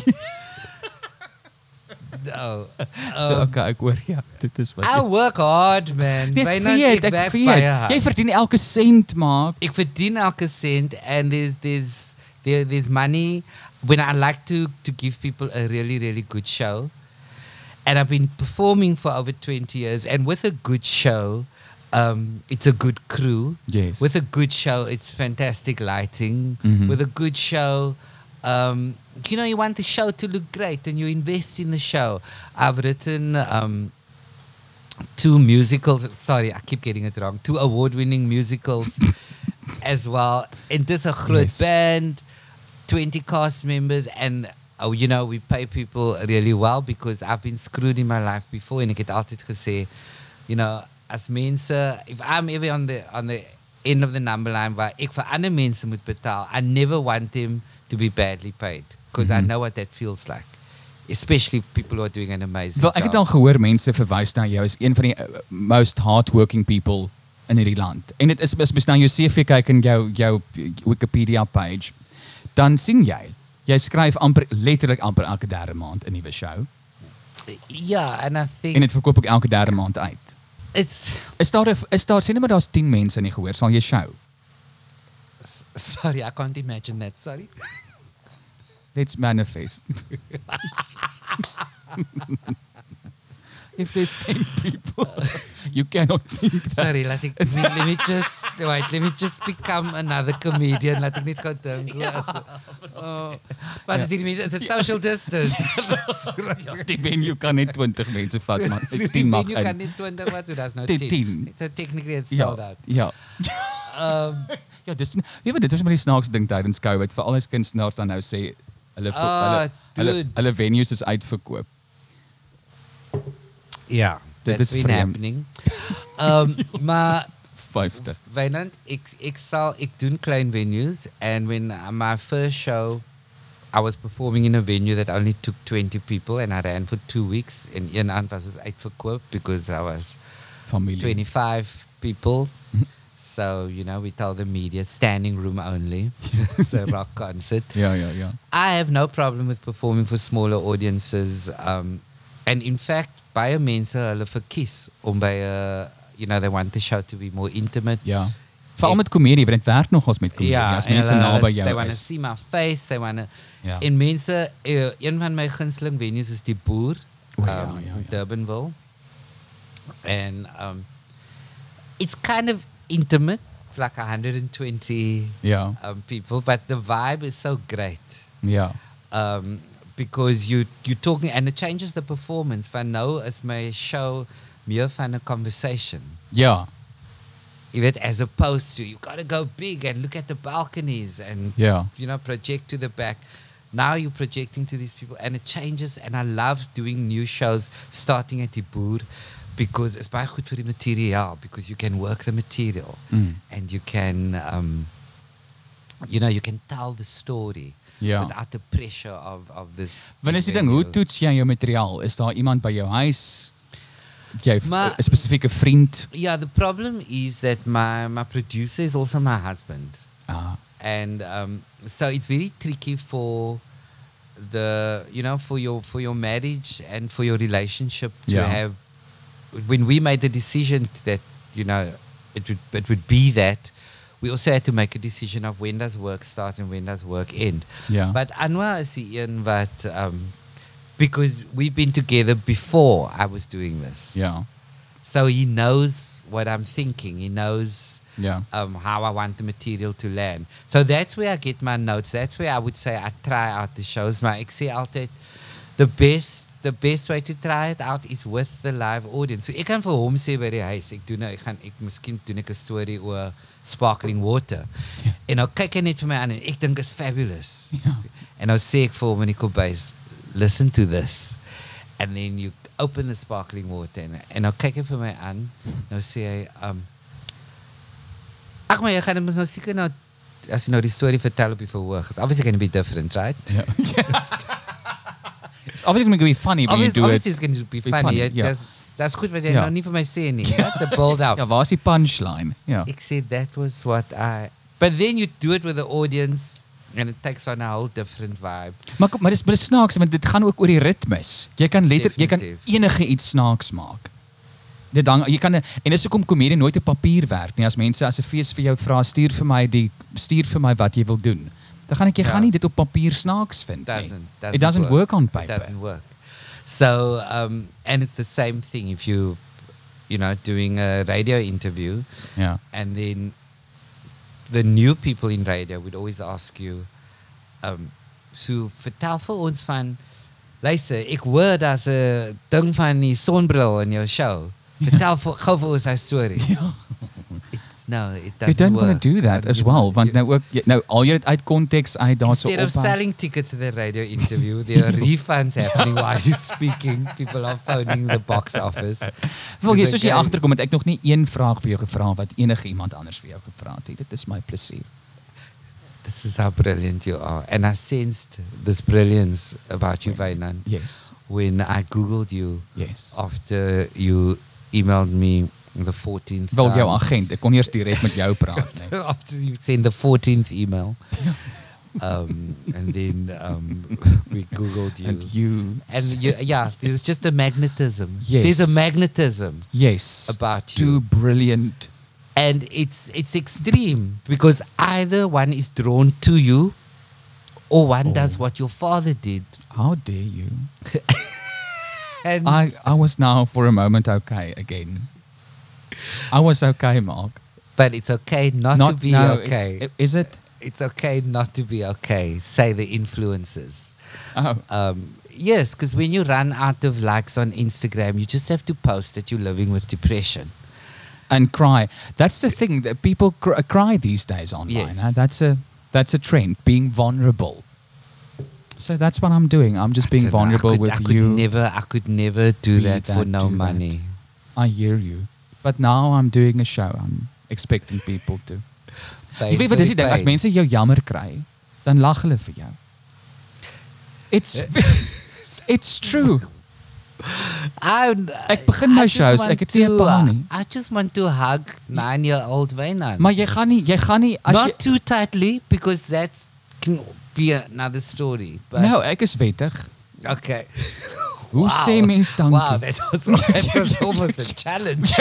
Speaker 2: Oh.
Speaker 1: So okay, ek hoor ja, dit is wat.
Speaker 2: I work hard man.
Speaker 1: Nee,
Speaker 2: Byna
Speaker 1: weet,
Speaker 2: ek werk
Speaker 1: weet.
Speaker 2: baie hard.
Speaker 1: Jy verdien elke sent maar.
Speaker 2: ek verdien elke sent and there's there's there, there's money when I like to to give people a really really good show. And I've been performing for over 20 years and with a good show um, it's a good crew.
Speaker 1: Yes.
Speaker 2: With a good show it's fantastic lighting.
Speaker 1: Mhm.
Speaker 2: With a good show um, you know you want the show to look great and you invest in the show. I've written um, two musicals. Sorry, I keep getting it wrong. Two award-winning musicals as well. And this a groot
Speaker 1: Yes.
Speaker 2: band, twenty cast members, and oh, you know we pay people really well because I've been screwed in my life before, and I get altijd gesê, you know, as mense, if I'm ever on the on the end of the number line waar ek vir ander mense moet betaal, I never want them to be badly paid because
Speaker 1: Mhm.
Speaker 2: I know what that feels like. Especially if people who are doing an amazing
Speaker 1: Wel, ek het
Speaker 2: job.
Speaker 1: al gehoor mense verwys na jou as een van die uh, most hardworking people in hierdie land. En dit is as mens na jou CV kyk en jou jou Wikipedia page, dan sien jy jy skryf amper letterlik amper elke derde maand 'n nuwe show
Speaker 2: Yeah, and I think
Speaker 1: en dit verkoop ook elke derde maand uit.
Speaker 2: it's
Speaker 1: Is daar 'n- is daar sê net maar daar's 10 mense in die gehoor sal jy show.
Speaker 2: sorry, I can't imagine that. Sorry.
Speaker 1: Let's manifest. If there's 10 people, you cannot think that.
Speaker 2: Sorry, laat ek nee, let me just wait, let me just become another comedian. Laat ek net gou dink. Ja, oh, wat is dit mense? Dit social distance.
Speaker 1: Die venue kan net 20 mense vat, maar
Speaker 2: Die
Speaker 1: 10 mag
Speaker 2: venue kan
Speaker 1: in.
Speaker 2: nie 20 wat doen, dis nou
Speaker 1: Ten-
Speaker 2: 10.
Speaker 1: tien.
Speaker 2: It's a technically it's sold
Speaker 1: Ja.
Speaker 2: out.
Speaker 1: Ja.
Speaker 2: Um
Speaker 1: Ja, dis jy weet dit was maar die snaaks ding tydens COVID, veral as kunstenaars dan nou sê hulle vir-
Speaker 2: Ah,
Speaker 1: hulle hulle
Speaker 2: dude.
Speaker 1: hulle venues is uitverkoop.
Speaker 2: ja,
Speaker 1: Dit
Speaker 2: that's
Speaker 1: is
Speaker 2: been
Speaker 1: vreemd.
Speaker 2: happening. Um maar
Speaker 1: 50.
Speaker 2: Wynand, ek ek sal ek doen klein venues and when uh, my first show I was performing in a venue that only took 20 people and I ran for 2 weeks and een aand was ons uitverkoop because I was
Speaker 1: Familie.
Speaker 2: 25 people. So, you know, we tell the media standing room only. it's a rock concert.
Speaker 1: Ja, ja, ja.
Speaker 2: I have no problem with performing for smaller audiences. Um, and in fact, baie mense hulle verkies om by 'n you know, they want the show to be more intimate.
Speaker 1: Ja. Veral met komedie, want dit werk nogals met komedie.
Speaker 2: Ja,
Speaker 1: as
Speaker 2: en
Speaker 1: mense
Speaker 2: hulle-
Speaker 1: naby
Speaker 2: They
Speaker 1: jou
Speaker 2: want to
Speaker 1: is.
Speaker 2: see my face, they want to
Speaker 1: Ja.
Speaker 2: En mense eh, een van my gunsteling venues is die Boer,
Speaker 1: O, ja,
Speaker 2: um,
Speaker 1: ja, ja.
Speaker 2: Durbanville. And um it's kind of intimate, like 120
Speaker 1: Ja.
Speaker 2: um, people, but the vibe is so great.
Speaker 1: Ja.
Speaker 2: um, because you you talking and it changes the performance. Van nou is my show meer van 'n conversation.
Speaker 1: Ja.
Speaker 2: You weet, as opposed to you got to go big and look at the balconies and
Speaker 1: Ja.
Speaker 2: you know project to the back. Now you're projecting to these people and it changes and I love doing new shows starting at die boer because it's baie goed vir die materiaal because you can work the material
Speaker 1: Mm.
Speaker 2: and you can um, you know you can tell the story
Speaker 1: Ja.
Speaker 2: without the pressure of of this
Speaker 1: Want is die ding, hoe toets jy jou materiaal? Is daar iemand by jou huis? Jy
Speaker 2: Maar-
Speaker 1: 'n spesifieke vriend?
Speaker 2: yeah the problem is that my my producer is also my husband
Speaker 1: Ah,
Speaker 2: and um, so it's very tricky for the you know for your for your marriage and for your relationship to
Speaker 1: Yeah.
Speaker 2: have when we made the decision that you know it would it would be that we also had to make a decision of when does work start and when does work end
Speaker 1: ja.
Speaker 2: But Anwar is the Ian that um, because we've been together before I was doing this.
Speaker 1: Ja.
Speaker 2: So he knows what I'm thinking. He knows
Speaker 1: Ja.
Speaker 2: um, how I want the material to land. So that's where I get my notes. That's where I would say I try out the shows. My Excel altijd the best the best way to try it out is with the live audience. So ek kan vir hom sê by die huis, ek doen nou, ek gaan ek miskien doen ek 'n storie oor sparkling water. En nou kyk hy net vir my aan en ek dink is fabulous.
Speaker 1: Ja.
Speaker 2: And I say for him in the base, listen to this. And then you open the sparkling water and, and I'll kyk hom vir my aan. Nou sê hy, um Ag maar jy gaan dit mos nou seker nou as jy nou die storie vertel op die verhoog. It's obviously going to be different, right?
Speaker 1: It's obviously going to be funny when you
Speaker 2: Obviously,
Speaker 1: do
Speaker 2: obviously
Speaker 1: it.
Speaker 2: it's going to be
Speaker 1: be
Speaker 2: funny.
Speaker 1: funny,
Speaker 2: It
Speaker 1: ja.
Speaker 2: just that's goed wat jy
Speaker 1: Ja.
Speaker 2: nou nie vir my sê nie. Yeah. The build up.
Speaker 1: Ja, waar is die punchline? Ja.
Speaker 2: Ek sê that was what I But then you do it with the audience and it takes on a whole different vibe.
Speaker 1: Maar kom- maar dis maar dis snaaks want dit gaan ook oor die ritmes. Jy kan letter jy kan
Speaker 2: Definitief.
Speaker 1: enige iets snaaks maak. Dit dan jy kan en dis hoekom komedie nooit op papier werk nie. As mense as 'n fees vir jou vra stuur vir my die stuur vir my wat jy wil doen. Dan gaan ek jy
Speaker 2: Ja.
Speaker 1: gaan nie dit op papier snaaks vind nie.
Speaker 2: doesn't, doesn't
Speaker 1: It doesn't work on
Speaker 2: It
Speaker 1: paper.
Speaker 2: doesn't work. So, um, and it's the same thing if you, you know, doing a radio interview,
Speaker 1: Ja.
Speaker 2: and then the new people in radio would always ask you, um, so vertel vir ons van, luister, ek hoor daar's 'n ding van die sonbril in jou show. Vertel vir gou vir ons daai storie.
Speaker 1: Ja.
Speaker 2: It's, no, it doesn't
Speaker 1: You don't
Speaker 2: work.
Speaker 1: want to do that
Speaker 2: Want
Speaker 1: as
Speaker 2: jy-
Speaker 1: well want
Speaker 2: jy-
Speaker 1: nou ook jy- nou al jy dit uit konteks uit daarso
Speaker 2: Instead of
Speaker 1: op.
Speaker 2: selling tickets to the radio interview, there are refunds happening while you're speaking. People are phoning the box office.
Speaker 1: Wil jy
Speaker 2: It's
Speaker 1: soos jy
Speaker 2: okay.
Speaker 1: agterkom het ek nog nie een vraag vir jou gevra wat enige iemand anders vir jou gevra het. nie. Dit is my plesier.
Speaker 2: This is how brilliant you are. And I sensed this brilliance about you, Vainan,
Speaker 1: Yes.
Speaker 2: when I Googled you
Speaker 1: Yes.
Speaker 2: after you emailed me the 14th.
Speaker 1: Wel jou
Speaker 2: time.
Speaker 1: agent, ek kon eers direk met jou praat, nee.
Speaker 2: after you sent the 14th email. Um, and then um, we Googled you.
Speaker 1: And you
Speaker 2: And you, yeah, it was just a magnetism.
Speaker 1: Yes.
Speaker 2: There's a magnetism
Speaker 1: yes,
Speaker 2: about you.
Speaker 1: too brilliant.
Speaker 2: and it's it's extreme because either one is drawn to you or
Speaker 1: Oh.
Speaker 2: one does what your father did
Speaker 1: How dare you?
Speaker 2: and
Speaker 1: I I was now for a moment okay again. I was okay, Mark.
Speaker 2: but it's okay not, to be
Speaker 1: no,
Speaker 2: okay it's,
Speaker 1: it's- Is it?
Speaker 2: okay not to be okay say the influences
Speaker 1: Oh,
Speaker 2: um, yes because when you run out of likes on instagram you just have to post that you're living with depression
Speaker 1: and cry. That's the thing that people cr- cry these days online.
Speaker 2: Yes.
Speaker 1: huh? That's a that's a trend, being vulnerable. So that's what I'm doing. I'm just being
Speaker 2: Dunno,
Speaker 1: vulnerable
Speaker 2: I could,
Speaker 1: with
Speaker 2: I could
Speaker 1: you.
Speaker 2: never i could never do
Speaker 1: Be
Speaker 2: that, for
Speaker 1: that,
Speaker 2: no
Speaker 1: do that.
Speaker 2: money
Speaker 1: I hear you. But now I'm doing a show. I'm expecting people to. Jy
Speaker 2: Pain
Speaker 1: weet
Speaker 2: for
Speaker 1: wat is die
Speaker 2: the
Speaker 1: ding as
Speaker 2: pain.
Speaker 1: mense jou jammer kry, dan lag hulle vir jou. It's
Speaker 2: Eh.
Speaker 1: it's true.
Speaker 2: I,
Speaker 1: Ek begin my shows, ek het nie 'n pa nie.
Speaker 2: I just want to hug nine-year-old Wayne.
Speaker 1: Maar jy gaan nie jy gaan nie as
Speaker 2: Not
Speaker 1: jy
Speaker 2: too tightly because that can be another story. But
Speaker 1: Nou, ek is wettig.
Speaker 2: okay.
Speaker 1: Hoe sê mens dankie?
Speaker 2: Wow, that was, that was almost a challenge.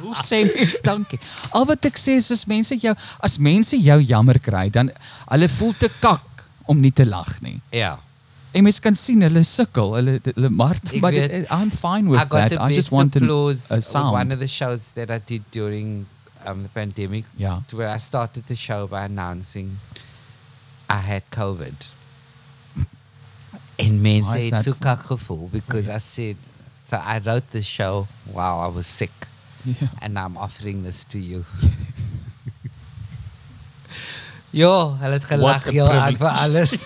Speaker 1: Hoe sê mens dankie? Al wat ek sê is as mense jou as mense jou jammer kry, dan hulle voel te kak om nie te lag nie.
Speaker 2: yeah.
Speaker 1: En mens kan sien hulle sukkel, hulle hulle maar
Speaker 2: Ek
Speaker 1: but
Speaker 2: weet,
Speaker 1: it, I'm fine
Speaker 2: I
Speaker 1: with
Speaker 2: got
Speaker 1: that.
Speaker 2: the
Speaker 1: I
Speaker 2: best
Speaker 1: just want an,
Speaker 2: applause
Speaker 1: a
Speaker 2: with one
Speaker 1: sound.
Speaker 2: of the shows that I did during um, the pandemic.
Speaker 1: Yeah.
Speaker 2: to Where I started the show by announcing I had COVID. And men
Speaker 1: Why
Speaker 2: say
Speaker 1: is that
Speaker 2: it's so kakaful because I said, so I wrote the show while I was sick.
Speaker 1: Yeah.
Speaker 2: And I'm offering this to you. Jo, hulle het gelag
Speaker 1: a
Speaker 2: heel aan
Speaker 1: privilege.
Speaker 2: vir alles.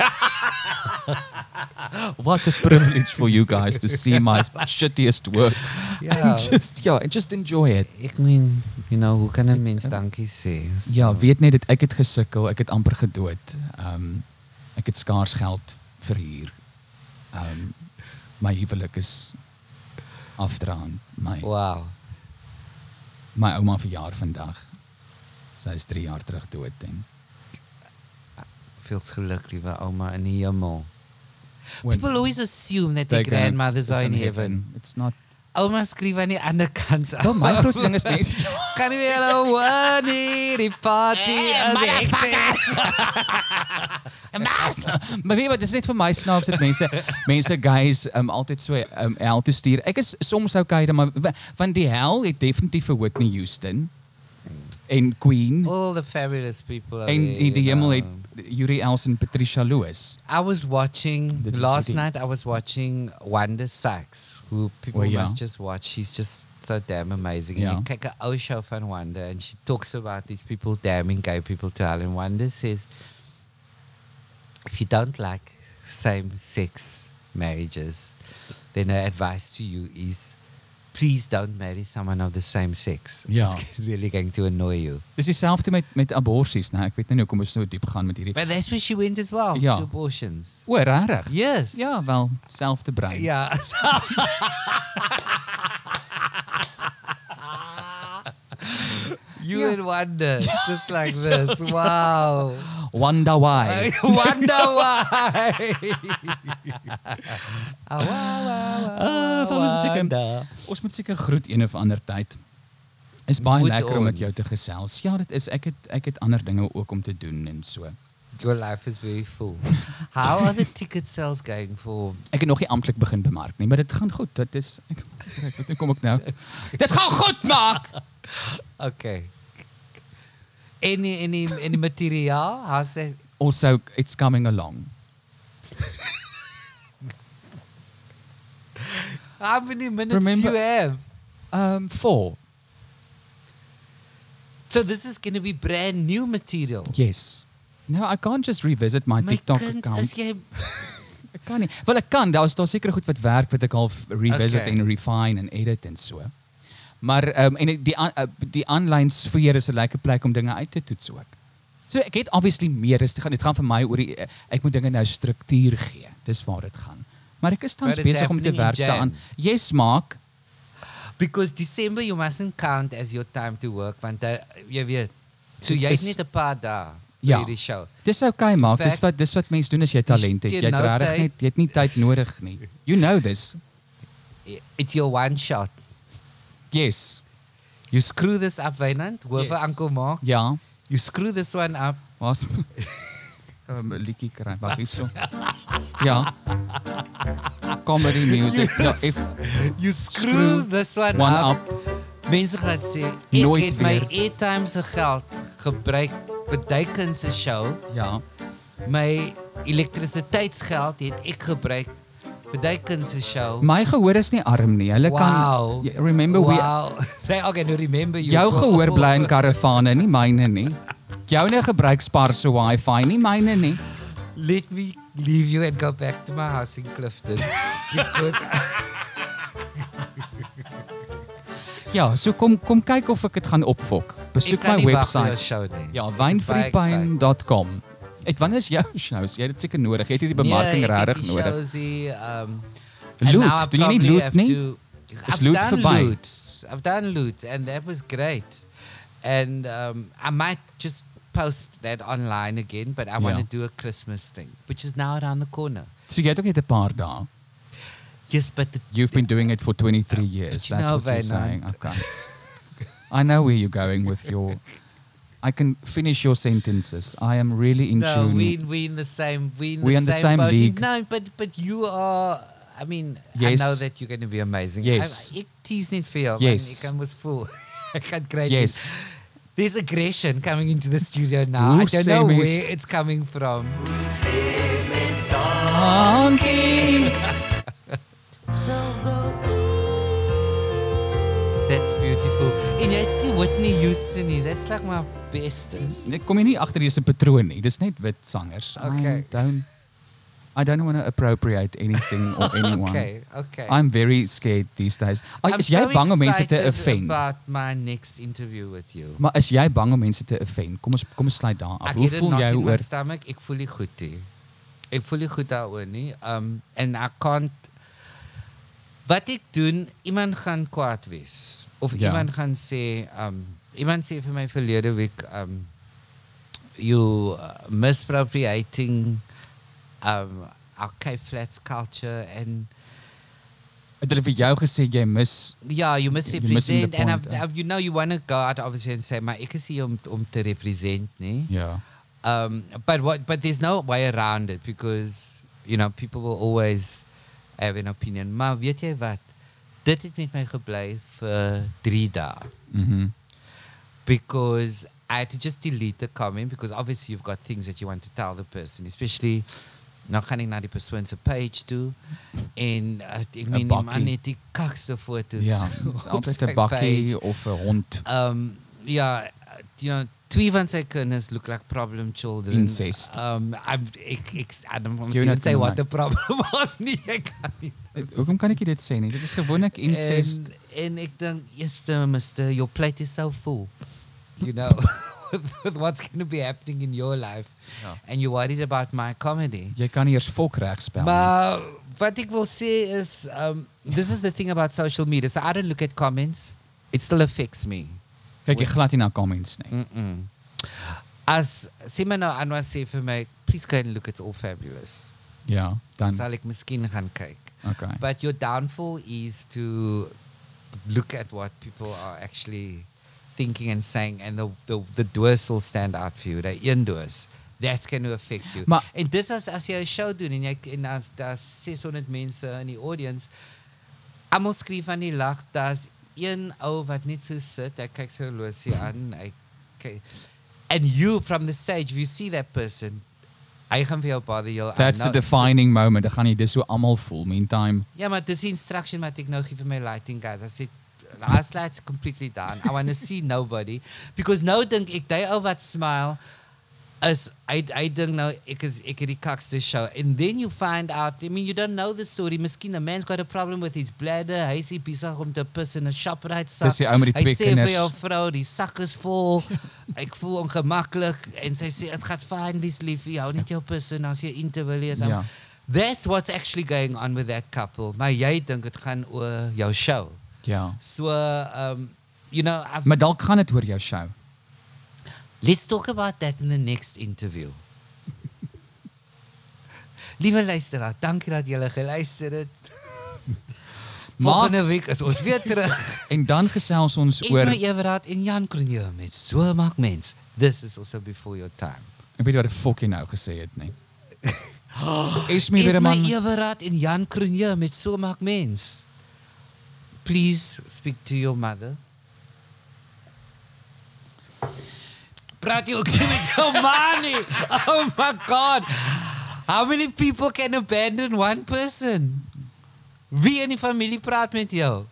Speaker 1: What a privilege for you guys to see my shittiest work.
Speaker 2: Ja.
Speaker 1: And just yeah, and just enjoy it.
Speaker 2: Ek meen, you know, hoe kan 'n mens dankie sê?
Speaker 1: Ja, weet net dat ek het gesukkel, ek het amper gedood. Ehm um, ek het skaars geld vir huur. Ehm um, my huwelik is afdraan. My
Speaker 2: Wow.
Speaker 1: my ouma verjaar vandag. Sy is 3 jaar terug dood en
Speaker 2: Feels geluk liewe ouma in die hemel.
Speaker 1: When-
Speaker 2: People always assume that their
Speaker 1: Thy grand-
Speaker 2: grandmothers
Speaker 1: is
Speaker 2: are in heaven.
Speaker 1: It's not.
Speaker 2: Ouma skryf aan die ander kant.
Speaker 1: Wel my grootste ding is mense
Speaker 2: kan nie meer hulle hoor nie, die party
Speaker 1: Hey,
Speaker 2: is hektisch.
Speaker 1: Mas. Maar weet jy wat, dit is net vir my snaaks dat mense mense guys um altyd so um hel toe stuur. Ek is soms okay dan maar wa- want die hel het definitief vir Whitney Houston en Queen
Speaker 2: All the fabulous people. are
Speaker 1: en
Speaker 2: there,
Speaker 1: die
Speaker 2: you
Speaker 1: hemel
Speaker 2: know.
Speaker 1: het Yuri Els en Patricia Lewis.
Speaker 2: I was watching
Speaker 1: The
Speaker 2: last
Speaker 1: DVD.
Speaker 2: night. I was watching Wanda Sykes, who people
Speaker 1: Oh, yeah.
Speaker 2: must just watch. She's just so damn amazing.
Speaker 1: Yeah.
Speaker 2: And you take a show from Wanda, and she talks about these people damning gay people to hell. And Wanda says, if you don't like same-sex marriages, then her advice to you is, please don't marry someone of the same sex.
Speaker 1: Yeah.
Speaker 2: It's really going to annoy you.
Speaker 1: Dis dieselfde met met aborsies, né? Ek weet nou nie hoekom ons so diep gaan met hierdie.
Speaker 2: But that's where she went as well.
Speaker 1: Yeah.
Speaker 2: To abortions.
Speaker 1: O, regtig?
Speaker 2: Yes. Ja.
Speaker 1: Ja, wel, selfde brein.
Speaker 2: Yeah. you
Speaker 1: Yeah.
Speaker 2: in wonder, just like this. Wow.
Speaker 1: Wonder why.
Speaker 2: I wonder why. Ah, wow, wow, wow,
Speaker 1: Ah, van ons chicken.
Speaker 2: wonder.
Speaker 1: Ons moet seker groet een of ander tyd. Is baie
Speaker 2: Moet
Speaker 1: lekker om met jou
Speaker 2: ons.
Speaker 1: te gesels. Ja, dit is ek het ek het ander dinge ook om te doen en so.
Speaker 2: Your life is very full. How are the ticket sales going for?
Speaker 1: Ek het nog nie amptelik begin bemark nie, maar dit gaan goed. Dit is ek, ek weet nie kom ek nou. Dit gaan goed maak.
Speaker 2: Okay. Any any any material? How's that?
Speaker 1: Also it's coming along.
Speaker 2: How many minutes
Speaker 1: Remember-
Speaker 2: do you have?
Speaker 1: Um 4.
Speaker 2: So this is going to be brand new material.
Speaker 1: Yes. No, I can't just revisit my,
Speaker 2: My
Speaker 1: TikTok
Speaker 2: kind,
Speaker 1: account.
Speaker 2: As jy
Speaker 1: Ek kan nie. Wel ek kan, daar is daar seker goed wat werk wat ek al f- revisit
Speaker 2: Okay.
Speaker 1: en refine en edit en so. Maar ehm um, en die an- uh, die aanlyn sfeer is 'n lekker plek om dinge uit te toets ook. So ek het obviously meer is te gaan. Dit gaan vir my oor die eh, ek moet dinge nou struktuur gee. Dis waar dit gaan. Maar ek is tans
Speaker 2: But it's
Speaker 1: besig om te
Speaker 2: happening in
Speaker 1: werk daaraan.
Speaker 2: Jan.
Speaker 1: Yes, maak.
Speaker 2: because December you mustn't count as your time to work want uh, jy weet so
Speaker 1: Dit
Speaker 2: jy
Speaker 1: is-
Speaker 2: het net 'n paar dae vir
Speaker 1: Ja.
Speaker 2: hierdie show.
Speaker 1: Dis okay maak. Dis
Speaker 2: fact,
Speaker 1: wat dis wat mense doen as jy talent het.
Speaker 2: teen
Speaker 1: Jy het
Speaker 2: nou
Speaker 1: regtig
Speaker 2: tyd-
Speaker 1: net jy het nie tyd nodig nie. You know this.
Speaker 2: I- It's your one shot.
Speaker 1: Yes.
Speaker 2: You screw this up Wynand, hoor vir
Speaker 1: Yes.
Speaker 2: Uncle Mark.
Speaker 1: Ja.
Speaker 2: You screw this one up.
Speaker 1: Was? um, liedjie kry. Wag hierso. Ja. Comedy music. Ja, if
Speaker 2: You screw,
Speaker 1: Screw
Speaker 2: this one,
Speaker 1: one
Speaker 2: up.
Speaker 1: up.
Speaker 2: Mense gaan sê ek
Speaker 1: Nooit
Speaker 2: het my
Speaker 1: weer.
Speaker 2: airtime se geld gebruik vir Duikin se show.
Speaker 1: Ja.
Speaker 2: My elektrisiteitsgeld het ek gebruik vir Duikin se show.
Speaker 1: My gehoor is nie arm nie. Hulle
Speaker 2: Wow.
Speaker 1: kan Ja, remember we
Speaker 2: wow. They okay, no remember you.
Speaker 1: jou gehoor bly in karavane, nie myne nie. Joune gebruik sparse wifi, nie myne nie.
Speaker 2: Let me leave you and go back to my house in Clifton because
Speaker 1: Ja, so kom kom kyk of ek dit gaan opfok.
Speaker 2: ek
Speaker 1: Besoek
Speaker 2: kan
Speaker 1: my
Speaker 2: nie wag vir jou
Speaker 1: webwerf.
Speaker 2: show nie.
Speaker 1: Ja,
Speaker 2: Ek is baie excited.
Speaker 1: wynvriepyn.com. Ek wanneer is jou shows? Jy het dit seker nodig. Jy het hierdie bemarking
Speaker 2: Nee, ek het
Speaker 1: regtig
Speaker 2: die
Speaker 1: nodig.
Speaker 2: shows hier, um and
Speaker 1: Loot,
Speaker 2: now I
Speaker 1: doen jy nie
Speaker 2: probably
Speaker 1: loot
Speaker 2: have
Speaker 1: nie?
Speaker 2: to-
Speaker 1: Is
Speaker 2: I've
Speaker 1: loot
Speaker 2: done
Speaker 1: verby?
Speaker 2: Loot. I've done loot and that was great. And um I might just post that online again, but I want to
Speaker 1: Ja.
Speaker 2: do a Christmas thing, which is now around the corner.
Speaker 1: So jy het ook net 'n paar dae.
Speaker 2: Yes, but the
Speaker 1: You've been doing it for 23 years.
Speaker 2: you
Speaker 1: That's
Speaker 2: know,
Speaker 1: what you're
Speaker 2: Vainan-
Speaker 1: saying. Okay. I know where you're going with your. I can finish your sentences. I am really in
Speaker 2: No,
Speaker 1: tune.
Speaker 2: we we in the same we in
Speaker 1: We
Speaker 2: the
Speaker 1: in the same
Speaker 2: same, boat.
Speaker 1: league.
Speaker 2: No, but but you are. I mean,
Speaker 1: Yes.
Speaker 2: I know that you're going to be amazing.
Speaker 1: Yes.
Speaker 2: I, ek tease net vir jou.
Speaker 1: Yes.
Speaker 2: Yes. Ek was full. Ek gaan kry. nie.
Speaker 1: yes.
Speaker 2: There's aggression coming into the studio now.
Speaker 1: Hoe
Speaker 2: I don't know
Speaker 1: sê mens-
Speaker 2: where it's coming from.
Speaker 1: Monkey.
Speaker 2: That's beautiful. En jy het die Whitney Houston nie. That's like my bestes.
Speaker 1: Net kom jy nie agter hierdie se patroon nie. Dis net wit sangers. I
Speaker 2: Okay.
Speaker 1: don't I don't want to appropriate anything or anyone.
Speaker 2: Okay, okay.
Speaker 1: I'm very scared these days. Ai,
Speaker 2: I'm
Speaker 1: is jy
Speaker 2: so
Speaker 1: bang om mense te
Speaker 2: excited
Speaker 1: offend?
Speaker 2: About my next interview with you.
Speaker 1: Maar is jy bang om mense te offend? Kom ons kom ons sluit daar af.
Speaker 2: Ek
Speaker 1: Hoe
Speaker 2: het dit
Speaker 1: voel
Speaker 2: not
Speaker 1: jy
Speaker 2: in my
Speaker 1: oor
Speaker 2: stomach. Ek voel nie goed nie. Ek voel nie goed daaroor nie. Um en ek kan wat ek doen, iemand gaan kwaad wees of
Speaker 1: Ja.
Speaker 2: iemand gaan sê um iemand sê vir my verlede week um you uh, misappropriating um our Cape Flats culture and
Speaker 1: het hulle vir jou gesê jy mis
Speaker 2: Yeah, you must
Speaker 1: You're missing the
Speaker 2: represent, and I've,
Speaker 1: point, eh?
Speaker 2: I've, you know you want to go out obviously and say, "My, ek is hier om om te represent," nee.
Speaker 1: Ja.
Speaker 2: Um, but what? But there's no way around it because you know people will always have an opinion. Maar weet jy wat? Dit het met my gebly vir 3 dae.
Speaker 1: Mhm.
Speaker 2: because I had to just delete the comment because obviously you've got things that you want to tell the person, especially nou gaan ek na die persoon se page toe en uh, ek
Speaker 1: Een
Speaker 2: meen die man
Speaker 1: bakkie.
Speaker 2: het die kakste foto's.
Speaker 1: Ja, dis
Speaker 2: op
Speaker 1: altyd
Speaker 2: sy
Speaker 1: 'n
Speaker 2: page.
Speaker 1: bakkie of 'n hond
Speaker 2: Um ja, you know, twee van sy kinders look like problem children.
Speaker 1: Incest.
Speaker 2: Um I'm ek ek I don't want
Speaker 1: Jy
Speaker 2: to
Speaker 1: moet
Speaker 2: say
Speaker 1: nou
Speaker 2: what
Speaker 1: my-
Speaker 2: the problem was nie. Ek kan nie.
Speaker 1: Eh, Hoekom kan ek nie dit sê nie? Dit is gewoonlik incest.
Speaker 2: En, en ek dink, "Jester, mister, your plate is so full." You know, with, with what's going to be happening in your life
Speaker 1: Ja.
Speaker 2: and you're worried about my comedy.
Speaker 1: Jy kan nie eers volk reg spel nie.
Speaker 2: Maar what ek wil sê is um this is the thing about social media. So I don't look at comments. It still affects me.
Speaker 1: Kyk jy glad nou nie na comments nie.
Speaker 2: Mm-mm. As sê my nou Anwar sê vir my, please go and look it's all fabulous.
Speaker 1: Ja, dan
Speaker 2: Sal ek miskien gaan kyk.
Speaker 1: okay.
Speaker 2: But your downfall is to look at what people are actually thinking and saying and the the the doors will stand out for you. Die een doors. That's going to affect you.
Speaker 1: Maar-
Speaker 2: en dit is as jy 'n show doen en jy en as daar 600 mense in die audience Almal skryf aan die lag, daar's een ou wat net so sit, hy kyk sy horlosie aan, hy kyk and you from the stage you see that person. Hy gaan vir jou bother jou.
Speaker 1: That's the defining moment. Ek gaan nie dis so almal voel meantime.
Speaker 2: Ja, maar dis die instruction wat ek nou gee vir my lighting guys. I said last lights completely down. I want to see nobody because nou dink ek daai ou wat smile is I I dink nou ek is ek het die kakste show and then you find out I mean you don't know the story. Miskien 'n man's got a problem with his bladder. Hy is besig om te pis in 'n shoprite sak.
Speaker 1: Dis die ou met die twee
Speaker 2: Hy sê vir
Speaker 1: kinders.
Speaker 2: jou vrou, die sak is vol. ek voel ongemaklik en sy sê dit gaan fyn, dis lief. Jy hou net jou pis en as jy in te wil is.
Speaker 1: Ja.
Speaker 2: Ja. That's what's actually going on with that couple. Maar jy dink dit gaan oor jou show.
Speaker 1: Ja.
Speaker 2: So um you know, I've,
Speaker 1: Maar dalk gaan dit oor jou show.
Speaker 2: let's talk about that in the next interview. Liewe luisteraar, dankie dat julle geluister het.
Speaker 1: Maar-
Speaker 2: Volgende week is ons weer terug.
Speaker 1: En dan gesels ons
Speaker 2: Ek
Speaker 1: oor
Speaker 2: is Everard en Jan Kronje met so maak mens. This is also before your time.
Speaker 1: ek weet nie wat die fok jy nou gesê het nie. Esme
Speaker 2: Is
Speaker 1: weer 'n
Speaker 2: my
Speaker 1: man.
Speaker 2: Everard en Jan Kronje met so maak mens. Please speak to your mother. Praat jy ook nie met jou ma nie? Oh my god. How many people can abandon one person? Wie in die familie praat met jou?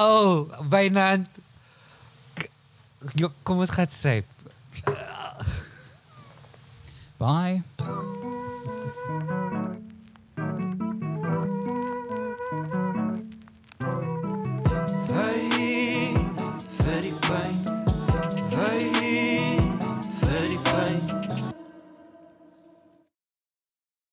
Speaker 2: Oh, Wynand. K- jo, Kom ons gaan syp.
Speaker 1: Bye.
Speaker 3: Vir die pyn, vir die pyn,